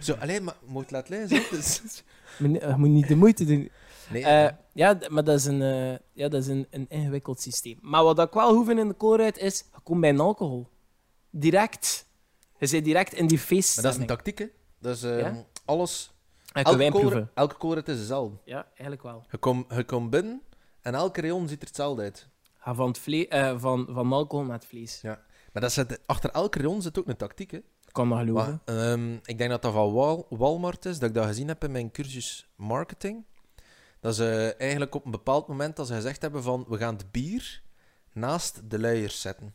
Zo, alleen maar moet laten lezen.
meneer eh, je moet niet de moeite doen.
Nee,
Dus, Eh, ja, d- maar dat is, een, eh, ja, dat is een, een ingewikkeld systeem. Maar wat ik wel hoeven in de koolruit is, je komt bij een alcohol. Direct. Je zit direct in die feest.
maar dat is een tactiek, hè. Dat is ehm,
Ja?
alles...
Elke wijn
Colruyt-
proeven.
elke Colruyt is hetzelfde.
Ja, eigenlijk wel.
Je komt je komt binnen en elke rayon ziet er hetzelfde uit.
Ga van, het vle- eh, van, van alcohol naar het vlees.
Ja. Maar dat zit, achter elke rayon zit ook een tactiek, hè.
Kan dat
Maar,
geloven.
ehm, ik denk dat dat van Wal- Walmart is, dat ik dat gezien heb in mijn cursus marketing. Dat ze eigenlijk op een bepaald moment dat ze gezegd hebben van we gaan het bier naast de luiers zetten.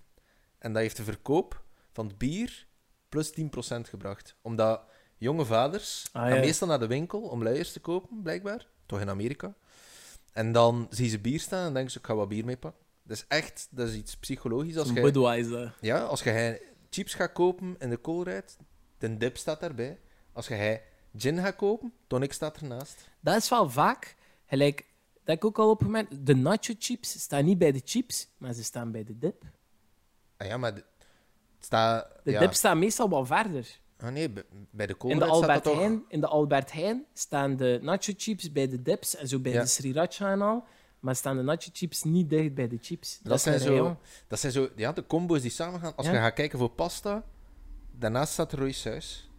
En dat heeft de verkoop van het bier plus 10% gebracht. Omdat jonge vaders
Ah,
gaan
ja.
meestal naar de winkel om luiers te kopen, blijkbaar. Toch in Amerika. En dan zien ze bier staan en denken ze, ik ga wat bier meepakken. Dat is echt, dat is iets psychologisch. Als
Zo'n
je-
Budweiser.
ja, als je hij chips gaat kopen in de koolruit, de dip staat daarbij. Als je hij gin gaat kopen, tonic staat ernaast.
Dat is wel vaak, gelijk, dat ik ook al opgemerkt, de nacho chips staan niet bij de chips, maar ze staan bij de dip.
Ah ja, maar de- het staat...
De
ja.
dip staat meestal wel verder.
Ah nee, b- bij de
In de,
koolruit staat dat
Albert
toch...
Heijn, in de Albert Heijn staan de nacho chips bij de dips en zo bij
Ja.
de sriracha en al. Maar staan de nacho chips niet dicht bij de chips. Dat,
Dat, zijn
is een
zo,
rayon.
dat zijn zo... Ja, de combo's die samen gaan. Als
Ja.
je gaat kijken voor pasta, daarnaast staat rode saus.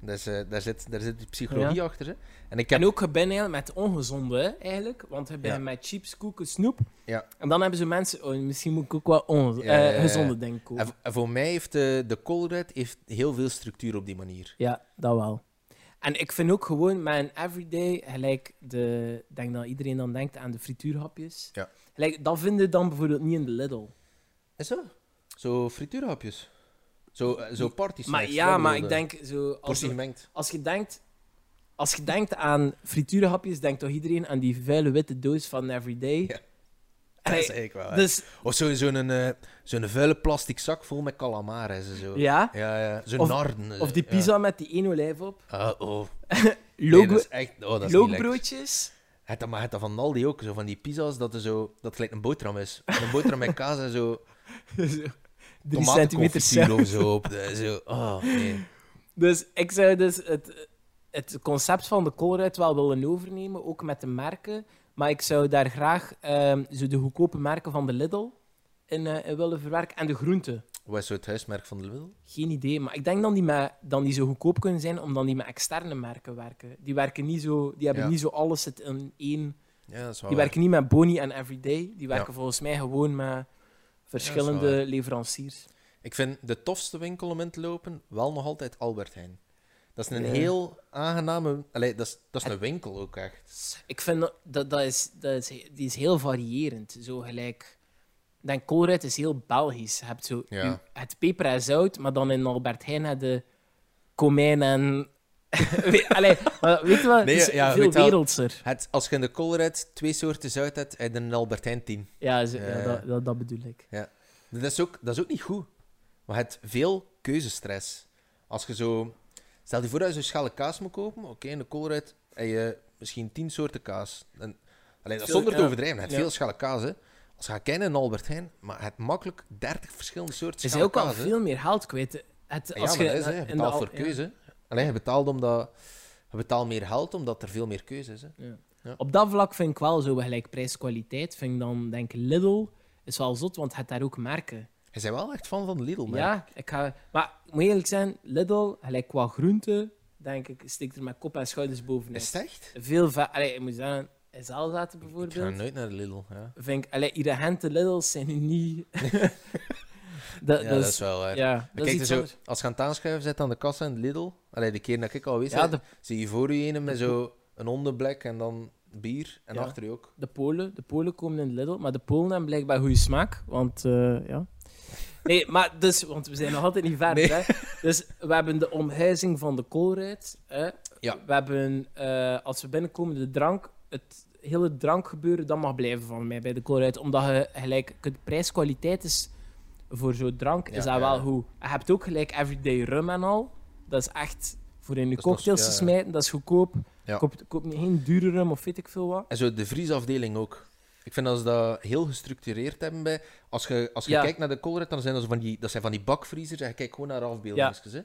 Dat is, eh, daar, zit, daar zit die psychologie
Ja.
achter. Hè. En ik heb...
En ook je bent eigenlijk met ongezonde, hè, eigenlijk. Want je bent
Ja.
met chips, koeken, snoep.
Ja.
En dan hebben ze mensen... Oh, misschien moet ik ook wel onge-
Ja, ja, ja,
eh,
ja.
gezonde dingen kopen.
en v- en voor mij heeft de, de koolruit heeft heel veel structuur op die manier.
Ja, dat wel. En ik vind ook gewoon mijn everyday, gelijk de, ik denk dat iedereen dan denkt aan de frituurhapjes.
Ja.
Gelijk, dat vinden je dan bijvoorbeeld niet in de Lidl.
Is dat? Zo frituurhapjes. Zo, eh, zo party
Maar
snacks,
ja,
dat
maar
bedoelde.
ik denk zo... Als
Portie
we- [LAUGHS]
gemengd.
Als je denkt, als je denkt aan frituurhapjes, denkt toch iedereen aan die vuile witte doos van Everyday?
Ja. [LAUGHS] Dat is eigenlijk wel. hè.
Dus
Of zo- zo'n eh, zo'n vuile plastic zak vol met calamares en zo.
ja,
ja. ja. Zo'n
Of-
narden. eh,
of die
ja.
pizza met die één olijf op.
Ah, oh. Nee,
Logo,
dat is echt... Oh, dat is niet lekker.
loogbroodjes.
Het, maar het dat van Aldi ook, zo van die pizza's, dat er zo... Dat het gelijk een boterham is. Een boterham met kaas en
[LAUGHS]
zo...
Zo, [LAUGHS] Drie centimeter
tomatenconfituur of
zelf.
zo op. eh, zo. Oh, nee.
Dus ik zou dus het, het concept van de Colruyt wel willen overnemen, ook met de merken. Maar ik zou daar graag ehm, zo de goedkope merken van de Lidl in, eh, in willen verwerken en de groenten.
Wat is zo het huismerk van de Lidl?
Geen idee, maar ik denk dan die, met, dan die zo goedkoop kunnen zijn, omdat die met externe merken werken. Die, werken niet zo, die hebben
Ja.
niet zo alles zit in één.
Ja, dat is wel
Die
waar.
werken niet met Boni en Everyday. Die werken
Ja.
volgens mij gewoon met
Ja, dat is
verschillende leveranciers.
Ik vind de tofste winkel om in te lopen wel nog altijd Albert Heijn. Dat is een
Ja.
heel aangename... Allee, dat is, dat is een winkel ook echt.
Ik vind dat, dat, dat, is, dat is, die is heel variërend. Zo gelijk. Ik denk, Colruyt is heel Belgisch. Je hebt zo
Ja.
uw- het peper en zout, maar dan in Albert Heijn heb je komijn en... [LAUGHS] We- Allee, maar weet je wat?
Nee,
het is
ja,
veel
weet wel-
wereldser.
Het, als je in de Colruyt twee soorten zout hebt, heb je een Albert Heijn 10.
Ja, zo-
Ja,
ja,
ja.
dat, dat, dat bedoel ik.
Dat is, ook, dat is ook niet goed. Maar je hebt veel keuzestress. Als je zo... Stel je voor dat je zo'n schalen kaas moet kopen. Oké, in de Colruyt heb je misschien tien soorten kaas. En, alleen, dat is
Veel-
zonder te
ja.
overdrijven. Je hebt
Ja.
veel schalen kaas, hè. Als je gaat kijken in Albert Heijn, maar je hebt makkelijk 30 verschillende soorten
Ze
schalen
zijn ook al
kaas, hè.
veel meer geld kwijt. Het,
Ja,
als
maar
je
dat is, hè.
in
je
de
betaalt
al-
voor
ja.
keuze. Alleen je betaalt omdat je betaalt meer geld omdat er veel meer keuze is. Hè.
Op dat vlak vind ik wel zo gelijk prijs-kwaliteit. Vind ik dan, denk ik, Lidl is wel zot, want het hebt daar ook merken.
Je bent wel echt fan van de Lidl, man.
Ja, ik ga... Maar ik moet eerlijk zijn, Lidl, gelijk qua groente, denk ik, steekt er met kop en schouders bovenuit.
Is het echt?
Veel va- Allee, ik moet zeggen, in Zelzaten
Ik ga
bijvoorbeeld,
nooit naar de Lidl. Ja,
vind ik... Allee, hier Gente Lidl's zijn nu
[LAUGHS]
niet... dat,
Ja, dat is wel waar.
Ja,
Maar
dat is
kijk,
iets
zo,
anders.
als je aan het aanschuiven zit aan de kassa in de Lidl, allee, de keer dat ik al weet,
Ja, de,
zie je voor je een met zo een hondenblik en dan bier en
Ja.
achter je ook.
de, Polen, de Polen komen in Lidl, maar de Polen hebben blijkbaar goede smaak, want eh, ja... Nee, maar dus, want we zijn nog altijd niet verder. Hè? Dus we hebben de omhuizing van de koolruit. Hè?
Ja.
We hebben, eh, als we binnenkomen, de drank. Het hele drankgebeuren, dat mag blijven van mij bij de koolruit. Omdat je gelijk, de prijs-kwaliteit is voor zo'n drank,
Ja,
is dat
ja,
wel
ja.
goed. En Je hebt ook gelijk everyday rum en al. Dat is echt voor in je
Dat is nog-
cocktails
ja,
te
ja.
smijten, dat is goedkoop.
Ja.
Koop, koop niet- geen dure rum of weet ik veel wat.
En zo de vriesafdeling ook. Ik vind dat ze dat heel gestructureerd hebben bij... Als je, als je
Ja.
kijkt naar de Colruyt, dan zijn dat, zo van die, dat zijn van die bakvriezers en je kijkt gewoon naar afbeeldingen. hè.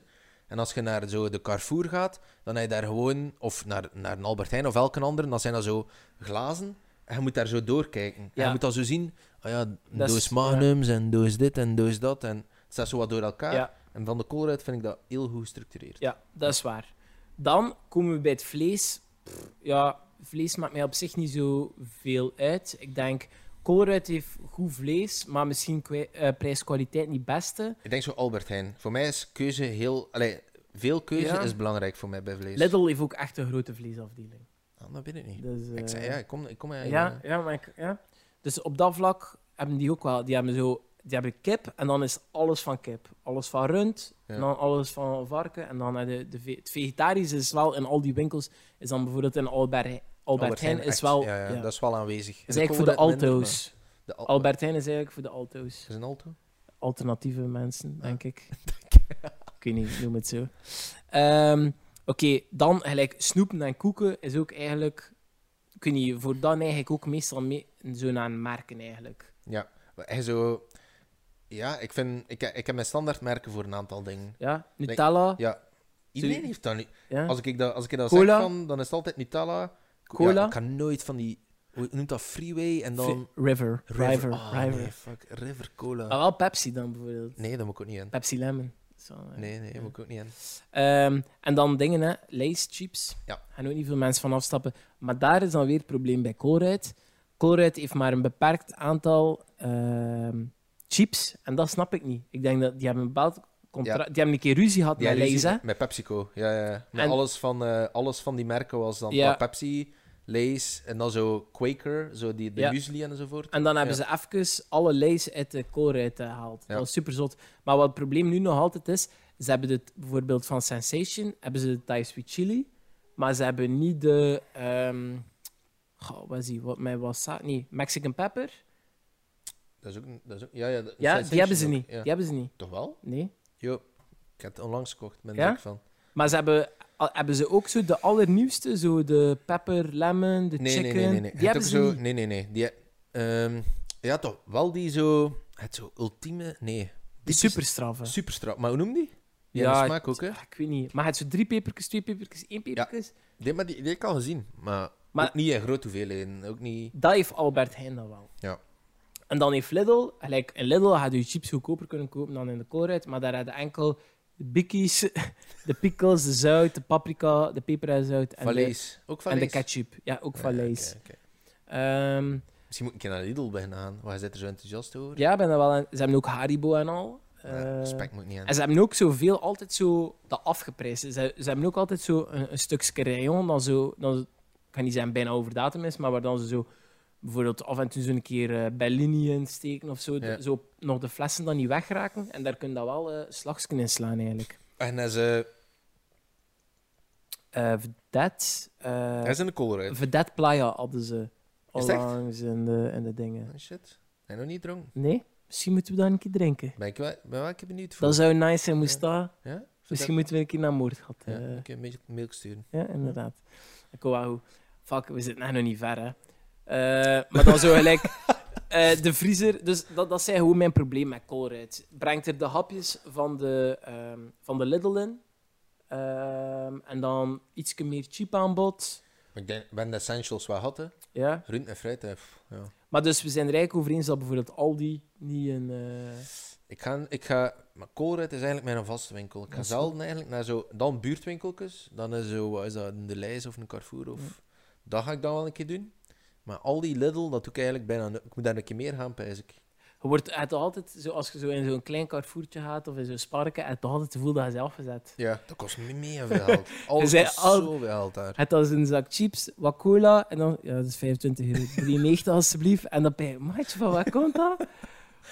En als je naar zo de Carrefour gaat, dan heb je daar gewoon... Of naar, naar een Albert Heijn of elke andere, dan zijn dat zo glazen. En je moet daar zo doorkijken. En
Ja.
je moet dan zo zien, ah ja, een
Dat is-
doos magnums en doos dit en doos dat. En het staat zo wat door elkaar.
Ja.
En van de Colruyt vind ik dat heel goed gestructureerd.
Ja, dat is waar. Dan komen we bij het vlees. Pff, ja, vlees maakt mij op zich niet zo veel uit. Ik denk, koolruit heeft goed vlees, maar misschien kwa- eh, prijs-kwaliteit niet beste.
Ik denk zo Albert Heijn. Voor mij is keuze heel... Allee, veel keuze
Ja.
is belangrijk voor mij bij vlees.
Lidl heeft ook echt een grote vleesafdeling.
Ah, dat weet ik niet.
Dus, eh,
Ik zei, ja, ik kom, ik kom uit,
ja,
eh,
ja, maar ik, ja. Dus op dat vlak hebben die ook wel. Die hebben zo, die hebben kip en dan is alles van kip, alles van rund,
Ja.
en dan alles van varken en dan eh, de, de ve- het vegetarisch is wel in al die winkels is dan bijvoorbeeld in Albert, Albert,
Albert
Heijn
Heijn,
is
echt.
wel.
Ja, ja,
ja.
Dat is wel aanwezig.
is
En
eigenlijk voor de
Colruyt minder,
alto's.
maar de Al-
Albert Heijn is eigenlijk voor de alto's.
Is een alto?
Alternatieve mensen,
Ja.
denk
[LAUGHS]
ik. ik weet niet, noem het zo. Ehm, Oké, dan gelijk snoepen en koeken is ook eigenlijk... Ik weet niet, voor dan eigenlijk ook meestal mee, zo naar merken eigenlijk.
Ja. Maar hij zo... Ja, ik, vind, ik, ik heb mijn standaardmerken voor een aantal dingen.
Ja, Nutella,
Ja. Iedereen
Zo-
heeft dat nu.
ja.
Als ik dat, als ik dat
Cola?
zeg, van, dan is het altijd Nutella. Co-
Cola?
Ja, ik kan nooit van die... Hoe noemt dat? Freeway en dan...
Fi- River, River, River. Ah.
Ah, nee, fuck. River Cola.
Maar wel Pepsi dan bijvoorbeeld.
Nee, dat moet ik ook niet in.
Pepsi Lemon. Dat is wel, eh.
Nee, nee,
Ja.
dat moet ik ook niet in.
Ehm, en dan dingen, hè. Lay's chips.
Ja.
Gaan ook niet veel mensen van afstappen. Maar daar is dan weer het probleem bij Colruyt. Colruyt heeft maar een beperkt aantal ehm, chips. En dat snap ik niet. Ik denk dat die hebben een bepaald contract...
Ja.
Die hebben een keer ruzie gehad
Ja,
met
die
Lay's,
zie-
hè.
Met PepsiCo, ja. ja, ja. Met
En-
alles, van, eh, alles van die merken was dan
Ja.
ah, Pepsi, Lay's en dan zo Quaker, zo die, de
Ja.
muesli en enzovoort.
En dan hebben
Ja.
ze even alle Lay's uit de Colruyt eh, gehaald.
Ja.
Dat was super zot. Maar wat het probleem nu nog altijd is... Ze hebben het bijvoorbeeld van Sensation, hebben ze de Thai Sweet Chili. Maar ze hebben niet de... ehm goh, wat is die? Wat, met wasa- Nee, Mexican Pepper.
Dat is ook... een- Dat is ook ja, ja, dat-
Ja,
Sensation
die hebben ze
ook,
niet.
ja.
Die hebben ze niet.
Toch wel?
Nee.
Jo. Ik heb het onlangs gekocht, ben
Ja?
ik van.
Maar ze hebben, al- hebben ze ook zo de allernieuwste, zo de pepper, lemon,
Nee,
de
nee,
chicken.
nee, nee. nee. Je hebt
Die hebben
ook
ze
zo,
niet.
Nee, nee, nee. Die, ehm, ja, toch. Wel die zo... Het zo ultieme... Nee.
Die
typische-
superstraffen.
Superstrap. Maar hoe noem die? Die
Ja,
ja, smaak ook, hè?
Ah, Ik weet niet. Maar het zo drie pepertjes, twee pepertjes, één pepertjes.
Die, maar die, die heb ik al gezien. Maar,
Maar-
ook niet in grote hoeveelheden. Ook niet...
Dat heeft Albert Heijn dan wel.
Ja.
En En dan heeft Lidl, gelijk in Lidl had je chips goedkoper kunnen kopen dan in de koolruit, maar daar hadden enkel de bikkies, [LAUGHS] de pickles, de zout, de paprika, de peper en zout en, de,
Valleys. Ook
en
Valleys?
de ketchup. Ja, ook van Lees.
Ja, oké, oké. Misschien moet ik een keer naar Lidl beginnen gaan. Waar zit er zo enthousiast over?
ja, ik ben er wel aan- ze hebben ook Haribo en al.
Ja,
Eh,
spek moet niet aan.
En ze hebben ook zoveel altijd zo dat afgeprijsd. Ze, ze hebben ook altijd zo een, een stukje rayon dan zo, dan, ik ga niet zeggen bijna over datum is, maar waar dan ze zo bijvoorbeeld af en toe zo'n keer eh, Bellini in steken of zo,
Ja.
zo nog de flessen dan niet wegraken. En daar kun je dan wel eh slagsken in slaan eigenlijk.
En hij is, eh,
Eh Vedet, eh,
hij is in de koolruit.
Vedet Playa hadden ze
Is het echt?
onlangs in de, in de dingen.
Oh, shit. Hij nog niet dronken.
Nee, misschien moeten we dan een keer drinken.
Ben ik wel, ben wel een keer benieuwd voor.
Dat zou nice zijn, moest dat.
Ja? Vind
Misschien moeten we een keer naar Moordgat.
dat- Ja,
eh,
oké, een beetje mail sturen.
Ja, inderdaad. Ik wou wou, fuck, we zitten echt nog niet ver, hè. Eh, maar dan zo gelijk... eh, de vriezer, dus dat, dat zijn gewoon mijn probleem met koolruit. Brengt er de hapjes van de, ehm, van de Lidl in. Ehm, en dan iets meer cheap aanbod.
Maar ik denk, ben de essentials wel had, hè.
Ja.
Groente en fruit, hè. Pff, ja.
Maar dus we zijn er eigenlijk over eens dat bijvoorbeeld Aldi niet een... eh,
Ik ga, ik ga, maar Koolruid is eigenlijk mijn vaste winkel. Ik ga
Dat is
zelden eigenlijk naar zo, dan buurtwinkeltjes, dan is zo, wat is dat, een De Leijs of een Carrefour of, dat ga ik dan wel een keer doen. Maar al die Lidl, dat doe ik eigenlijk bijna, no- ik moet daar een keer meer gaan, pijs ik.
je wordt het altijd, zo, als je zo in zo'n klein carrefourtje gaat of in zo'n sparke, het toch altijd het gevoel dat je zelf gezet.
Ja. Dat kost me meer veel geld.
[LAUGHS]
Alles
zei
kost
al-
zoveel geld daar.
Het was een zak chips, wat cola en dan, ja, dat is 25 euro,
[LAUGHS]
93 alstublieft. En dan ben je, maatje, van waar komt dat?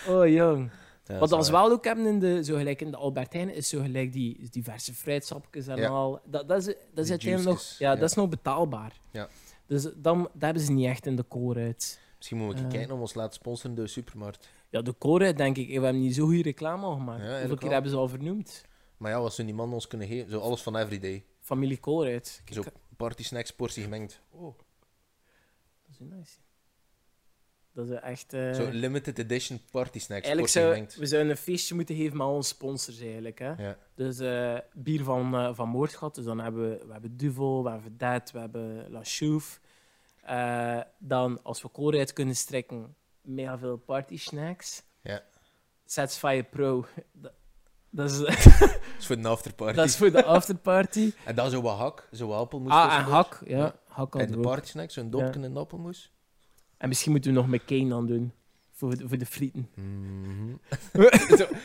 Oh jong.
Ja,
Wat
dat
we
is
wel ook hebben in de, zo gelijk in de Albert Heijn, is zo gelijk die diverse fruitsapjes en
Ja.
al. Dat, dat is, dat is
Die
uiteindelijk nog,
juices,
ja,
ja.
dat is nog betaalbaar.
Ja.
Dus dan, dat hebben ze niet echt in de koolruit.
Misschien moeten we een
Eh.
keer kijken om ons te laten sponsoren door de supermarkt.
Ja, de koolruit denk ik, eh, we hebben niet zo goede reclame al gemaakt.
Ja,
Hoeveel
eigenlijk
keer
wel.
hebben ze al vernoemd?
Maar ja, wat zou die man ons kunnen geven? Zo alles van everyday.
Familie koolruit. Kijk,
Zo party snacks, portie gemengd.
Dat is nice. Dat is echt... eh,
Zo limited edition party snacks,
Eigenlijk
portie
zou,
gemengd.
we zouden een feestje moeten geven met onze sponsors eigenlijk. Hè?
Ja.
Dus eh, bier van, eh van Moordgat. Dus dan hebben we, we hebben Duvel, we hebben Dat, we hebben La Chouf. Eh, dan, als we koolruit kunnen strekken, mega veel party snacks.
Ja.
Satisfyer Pro. [LAUGHS] Dat, dat is,
Dat is voor de afterparty.
[LAUGHS] dat is voor de
[LAUGHS]
afterparty.
En dan zo wat hak, zo wat appelmoes.
ah, en
tussendoor.
hak. Ja,
Ja.
hak
En
hadden
de
we ook.
party snacks, zo'n dopje en een appelmoes.
En misschien moeten we nog McCain dan doen. Voor, de- voor de
[LAUGHS]
frieten.
Mhm.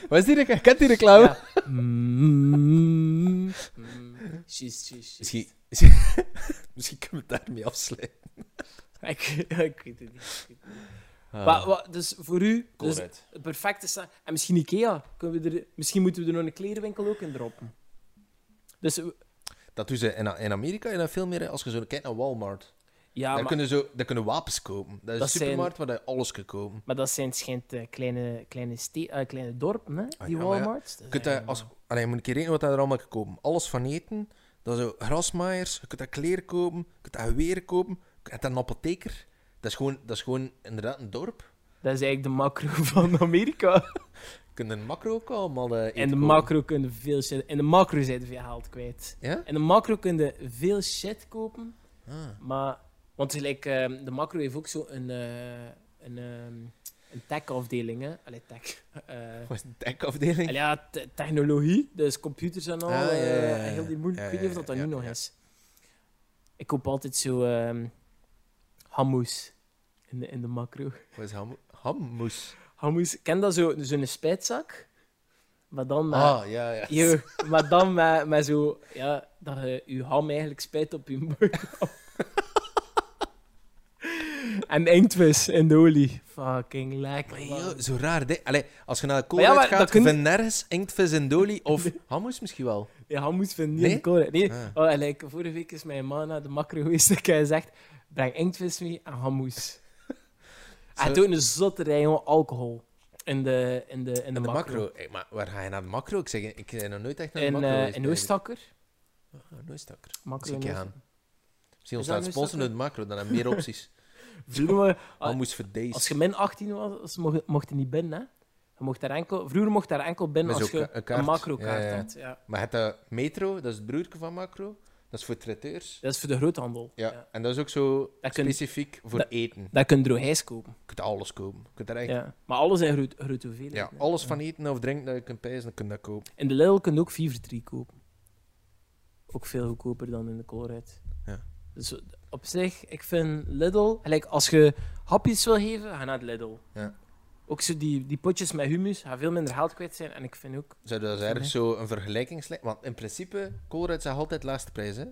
[LAUGHS]
Wat is die reclame? Kent die reclame?
Ja. Mm, mm, she's- she's- she's-
Misschien, [LAUGHS] misschien, misschien kunnen we het daarmee afsluiten.
[LAUGHS] Ik, ik weet het niet.
Ah.
Maar, wat- dus voor u, dus
Koolruid.
het perfecte sa- En misschien Ikea. Kunnen we er, misschien moeten we er nog een klerenwinkel ook in droppen. Dus eh,
Dat doen ze in, in Amerika en dan veel meer als je zo kijkt naar Walmart.
ja,
daar,
Ah, maar,
kunnen zo, daar kunnen wapens kopen. Dat is
Dat
een supermarkt waar je alles kan kopen.
maar dat zijn schijnt eh, kleine, kleine, ste- eh, kleine dorpen, hè, die
Ah, ja, maar ja.
Walmarts. Eh,
Je kunt daar als, allee, je moet een keer rekenen wat je daar allemaal kan kopen. Alles van eten, dat is zo grasmaaiers, je kunt daar kleren kopen, je kunt daar geweren kopen, je hebt daar een apotheker. Dat is gewoon, dat is gewoon inderdaad een dorp.
Dat is eigenlijk de macro [LAUGHS] van Amerika.
Je kunt in de macro ook allemaal eh, eten
In de
kopen.
macro kunnen veel shit... In de macro zijn er veel geld kwijt.
Ja?
In de macro kunnen veel shit kopen,
Ah.
Maar, want gelijk, ehm, de macro heeft ook zo een, eh, een, ehm, een tech-afdeling. hè. Allee, tech. Eh,
Wat is een tech-afdeling?
allee, ja, te- technologie, dus computers en al.
Ah, ja, ja,
eh,
ja,
en heel die
ja.
moeilijk.
Ja,
Ik weet niet of
ja,
dat dat
ja,
nu nog
ja.
is. Ik koop altijd zo ehm hammoes in de, in de macro.
Wat is ham hammoes?
Hammoes, ken dat zo- zo'n spijtzak? Maar dan eh, met,
Ah, ja, ja.
Yo, maar dan met, met zo, ja, dat je je ham eigenlijk spijt op je boterham. en inktvis in de olie. Fucking
Maar
lekker. man.
yo, zo raar ding. Allee, als je naar de
Maar ja,
koolruit
maar
gaat,
dat kun-
vind je nergens inktvis en dolie
[LAUGHS]
of hammoes misschien wel.
Je ham moet vinden,
Nee?
niet koren. Nee.
Ah.
Oh, en, like, vorige week is mijn man naar de macro geweest en hij zegt, breng inktvis mee en
[LAUGHS]
hammoes. Hij
Zo-
doet een zotte rij, jongen, alcohol. In de, in de, in de,
En de
macro.
macro. Hey, maar waar ga je naar de macro? Ik zeg, ik ben nog nooit echt naar de
In,
macro
eh,
geweest,
in
eigenlijk.
Oostakker.
Ah, Nooistakker.
Macro
Zie ik
in
je aan.
Oostakker.
Misschien
Is
ons
dat
laten sponsoren door de
Nooistakker?
macro, dan hebben we
[LAUGHS]
meer opties.
Vroeger, Ah,
Hammoes voor deze.
Als je min 18 was, was- mocht, mocht je niet binnen. Hè? Je mocht daar enkel, vroeger mocht daar enkel binnen
Met
als
zo'n
je
ka- een
een,
kaart.
macro-kaart
Ja, ja, ja.
had. Ja.
Maar het eh, metro, dat is het broertje van macro. Dat Dat is voor traiteurs.
Dat is voor de groothandel.
Ja. En dat is ook zo
Dat kun,
specifiek voor eten. Je
dat kun je droogijs kopen.
kunt alles kopen. Je kunt er eigenlijk...
Ja. Maar alles in groot, grote
Ja,
hoeveelheden. hè.
alles van eten of drinken dat je kunt pijzen, dan kun je dat kopen.
In de Lidl kun je ook 4 voor 3 kopen. Ook veel goedkoper dan in de Colruyt.
Ja.
Dus op zich, ik vind Lidl... Gelijk, als je hapjes wil geven, ga naar de Lidl.
Ja.
Ook zo die, die potjes met humus gaan veel minder geld kwijt zijn. En ik vind ook...
Zou dat is eigenlijk zo een vergelijkingslijn? Want in principe, Colruyt zegt altijd laatste prijs, hè?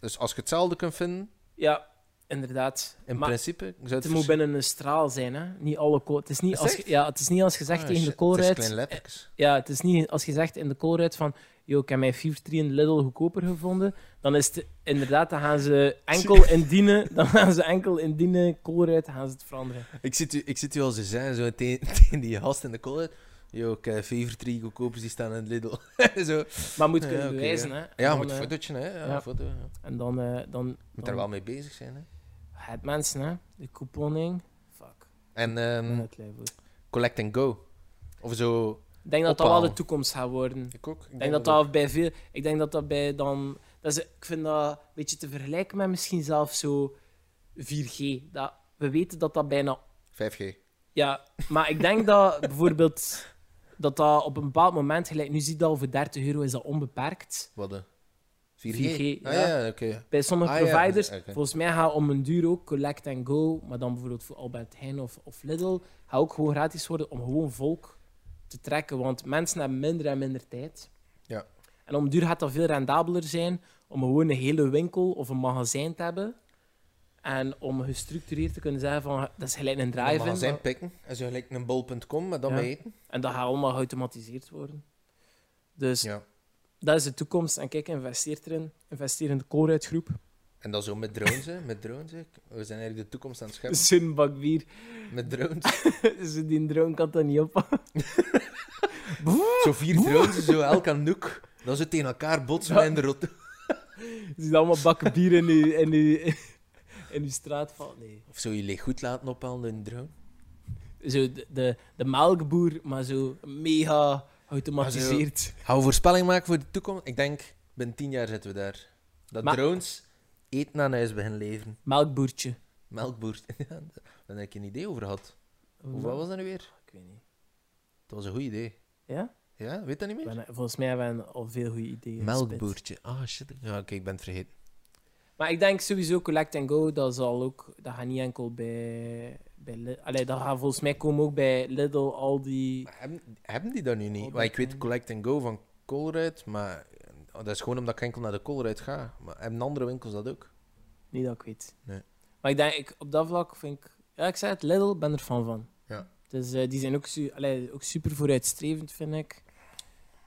Dus als je hetzelfde kunt vinden,
Ja, inderdaad.
in
maar
principe... Zou het
het moet
verschil-
binnen een straal zijn, hè. Niet alle ko- het, is niet
Is
als,
echt?
ja, het is niet als je zegt
Ah,
tegen
shit,
de
Het is
Colruyt...
klein letters.
Ja, het is niet als je zegt in de Colruyt van... Yo, ik heb mijn 4 3 in Lidl goedkoper gevonden. Dan is het inderdaad, dan gaan ze enkel indienen. [LAUGHS] Dan gaan ze enkel indienen Colruyt, gaan ze het veranderen.
Ik zit, u, ik zit u al zo zijn, zo tegen, [LAUGHS] tegen die gast in de Colruyt. Yo, ik heb vier, drie goedkopers die staan in het Lidl. [LAUGHS] zo.
Maar moet
Ja,
kunnen
oké,
bewijzen, hè. En
Ja,
dan,
moet een
eh,
fotootje, hè. Ja,
ja.
een Foto, ja.
En dan... eh, dan
Moet
dan-
daar wel mee bezig zijn, hè.
Het mensen, hè. De couponing. Fuck.
En ehm,
Ik
collect and go. Of zo.
denk dat dat wel de
Ophalen.
toekomst gaat worden.
Ik ook.
Ik denk dat dat bij veel. Ik denk dat dat bij dan. Dat is, ik vind dat een beetje te vergelijken met misschien zelfs zo 4G. Dat, we weten dat dat bijna.
5G.
Ja, maar ik denk dat [LAUGHS] bijvoorbeeld. Dat dat op een bepaald moment, gelijk nu zie je dat al voor 30 euro is dat onbeperkt.
Wat de? 4G?
4G,
ah,
ja.
ja, oké.
Bij sommige
Ah, ja,
providers,
oké.
volgens mij gaat om een duur ook collect and go, maar dan bijvoorbeeld voor Albert Heijn of, of Lidl, gaat ook gewoon gratis worden om gewoon volk te trekken. Want mensen hebben minder en minder tijd.
Ja.
En om duur gaat dat veel rendabeler zijn om gewoon een hele winkel of een magazijn te hebben. En om gestructureerd te kunnen zeggen van, dat is gelijk een
Een eh,
drive-in.
magazijn
maar-
pikken. En zo gelijk een bol.com, maar dan
Ja.
mee eten.
En dat gaat allemaal geautomatiseerd worden. Dus
Ja.
dat is de toekomst. En kijk, investeer erin. Investeer in de Colruyt-groep.
En dan zo met drones, hè. Met drones, hè. We zijn eigenlijk de toekomst aan het
[LAUGHS]
scheppen.
Zo'n bak bier.
Met drones.
Ze die drone kan dat niet oppakken.
Zo vier drones, zo elk aan noek. Dan ze tegen elkaar botsen
Ja.
en de rot.
[LAUGHS] Ze ziet allemaal bakken bier in uw, in uw, in uw straat vallen. Nee.
Of zo je leeg goed laten ophalen door een drone.
Zo de, de, de melkboer, maar zo mega geautomatiseerd.
Gaan we voorspelling maken voor de toekomst? Ik denk, binnen tien jaar zitten we daar. Dat
Maar-
drones eten aan huis beginnen leveren.
Melkboertje.
Melkboer. [LAUGHS] Ja, daar heb ik een idee over gehad. Hoe wat was dat nu weer?
Ik weet niet.
Dat was een goed idee.
Ja?
Ja, weet dat niet
Ik
meer?
ben- volgens mij hebben we al veel goede ideeën. gespit.
Melkboertje. Ah, shit. Ja, oké, ik ben het vergeten.
Maar ik denk sowieso Collect and Go, dat zal ook... Dat gaat niet enkel bij... bij Li- Allee, dat gaat volgens mij komen ook bij Lidl, Aldi...
Maar hebben, hebben die Oh, dat nu niet?
Albert
Want ik weet
Heijn.
Collect and Go van Colruyt, maar oh, dat is gewoon omdat ik enkel naar de Colruyt ga. Maar hebben andere winkels dat ook?
Niet dat ik weet.
Nee.
Maar ik denk, ik, op dat vlak vind ik... Ja, ik zei het, Lidl, ben er fan van.
Ja.
Dus eh, die zijn ook, su allee, ook super vooruitstrevend, vind ik.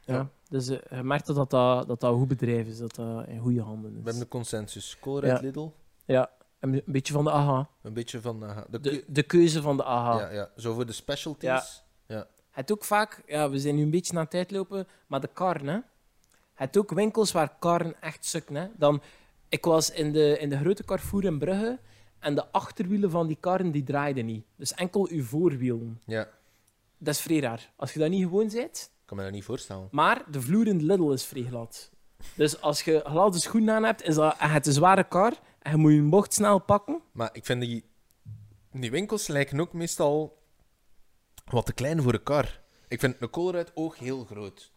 Ja.
Ja.
Dus eh, je merkt dat dat, dat dat een goed bedrijf is, dat dat in goede handen
We
is.
hebben de consensus. Colruyt, Lidl,
En Een beetje van de AHA.
een beetje van... eh, de Ah.
De,
keu-
de keuze van de AHA.
ja, ja, zo voor de specialties.
Het ook vaak... Ja, we zijn nu een beetje aan het uitlopen, maar de karn, hè. Het ook winkels waar karren echt sukken, hè. Dan, ik was in de, in de grote Carrefour in Brugge en de achterwielen van die karren, die draaiden niet. Dus enkel uw voorwielen.
ja.
Dat is vrij raar. Als je dat niet gewoon bent.
Ik kan me dat niet voorstellen.
Maar de vloer in de Lidl is vrij glad. Dus als je gladde schoenen aan hebt, is dat en je hebt een zware kar. En je moet je bocht snel pakken.
Maar ik vind die, die winkels lijken ook meestal wat te klein voor een kar. Ik vind een Colruyt ook heel groot.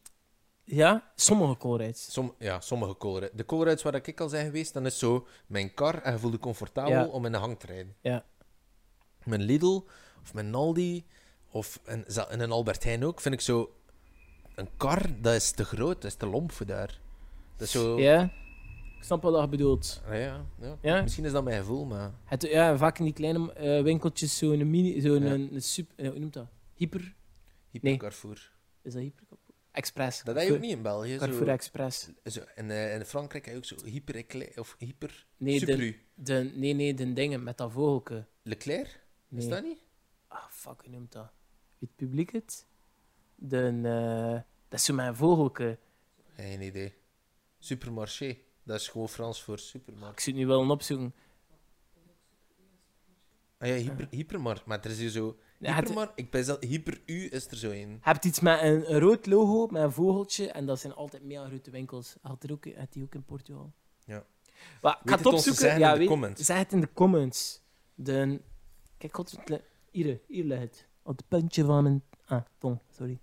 Ja, sommige koolrijds.
Som, ja, sommige Colruyt. De Colruyts waar ik al zijn geweest, dan is zo mijn kar en je voelt je comfortabel
Ja.
om in de hang te rijden.
Ja.
Mijn Lidl of mijn Aldi of een, za- en een Albert Heijn ook, vind ik zo... Een kar, dat is te groot, dat is te lomp voor daar. Dat is zo...
Ja? Ik snap wat je bedoelt.
Ah, ja, ja.
Ja?
Misschien is dat mijn gevoel, maar...
Het, ja, vaak in die kleine eh, winkeltjes zo'n mini... Zo'n
Ja.
een, super... eh, hoe noemt dat? Hyper...
Hyper Carrefour.
Is dat hyper? Express.
Dat heb je ook niet in België. zo.
Carrefour Express.
Zo, in, eh, in Frankrijk heb je ook zo hyper Eclair- of hyper
Nee, de,
Supru.
de, nee, nee, de dingen met dat vogelke.
Leclerc?
Nee.
Is dat niet?
Ah, fuck, hoe noemt dat? Wie het publiek het? De, eh, dat is zo mijn vogelke.
Geen idee. Supermarché. Dat is gewoon Frans voor
Ik
supermarkt.
zit nu wel een opzoeken.
Ah ja, hyper, hypermar. Maar er is hier zo...
Ja, het-
Hypermar? Ik ben zelf... Hyper-U is er zo een.
Je hebt iets met een, een rood logo, met een vogeltje, en dat zijn altijd mega grote winkels. Had, er ook, had die ook in Portugal? Maar ik
Weet
ga het
het ons te
opzoeken.
zeggen
ja,
in de
weet-
comments.
Zeg het in de comments. De... Kijk, god, het li- hier, hier ligt het. Op het puntje van mijn... Ah, tong, sorry.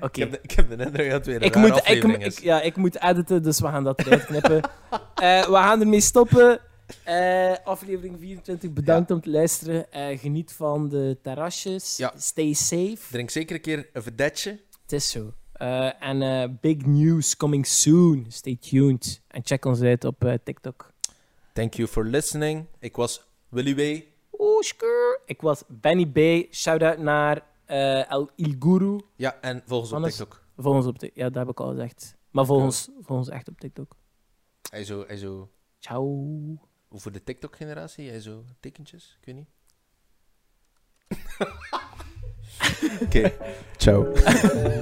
Oké.
Ik, heb de, ik heb de indruk dat het weer een
Ik
rare
moet, ik,
aflevering
ik,
is.
ja, ik moet editen, dus we gaan dat eruit
[LAUGHS]
knippen. Eh, we gaan ermee stoppen. Eh, aflevering 24, bedankt om te luisteren. Eh, geniet van de terrasjes.
Ja.
Stay safe.
Drink zeker een keer een vedetje.
Het is zo. Eh, En eh, big news coming soon. Stay tuned. En check ons uit op eh, TikTok.
Thank you for listening. Ik was Willy Way.
Oesker. Ik was Benny B. Shout-out naar eh, El Il Guru.
Ja, en volgens op
Hannes.
TikTok.
Volg ons op TikTok. Ja, dat heb ik al gezegd. Maar volg
Ja.
ons, volg ons echt op TikTok.
Hij zo, hij zo,
Ciao.
hoe voor de TikTok-generatie, hij zo tekentjes, ik weet niet. Oké, ciao.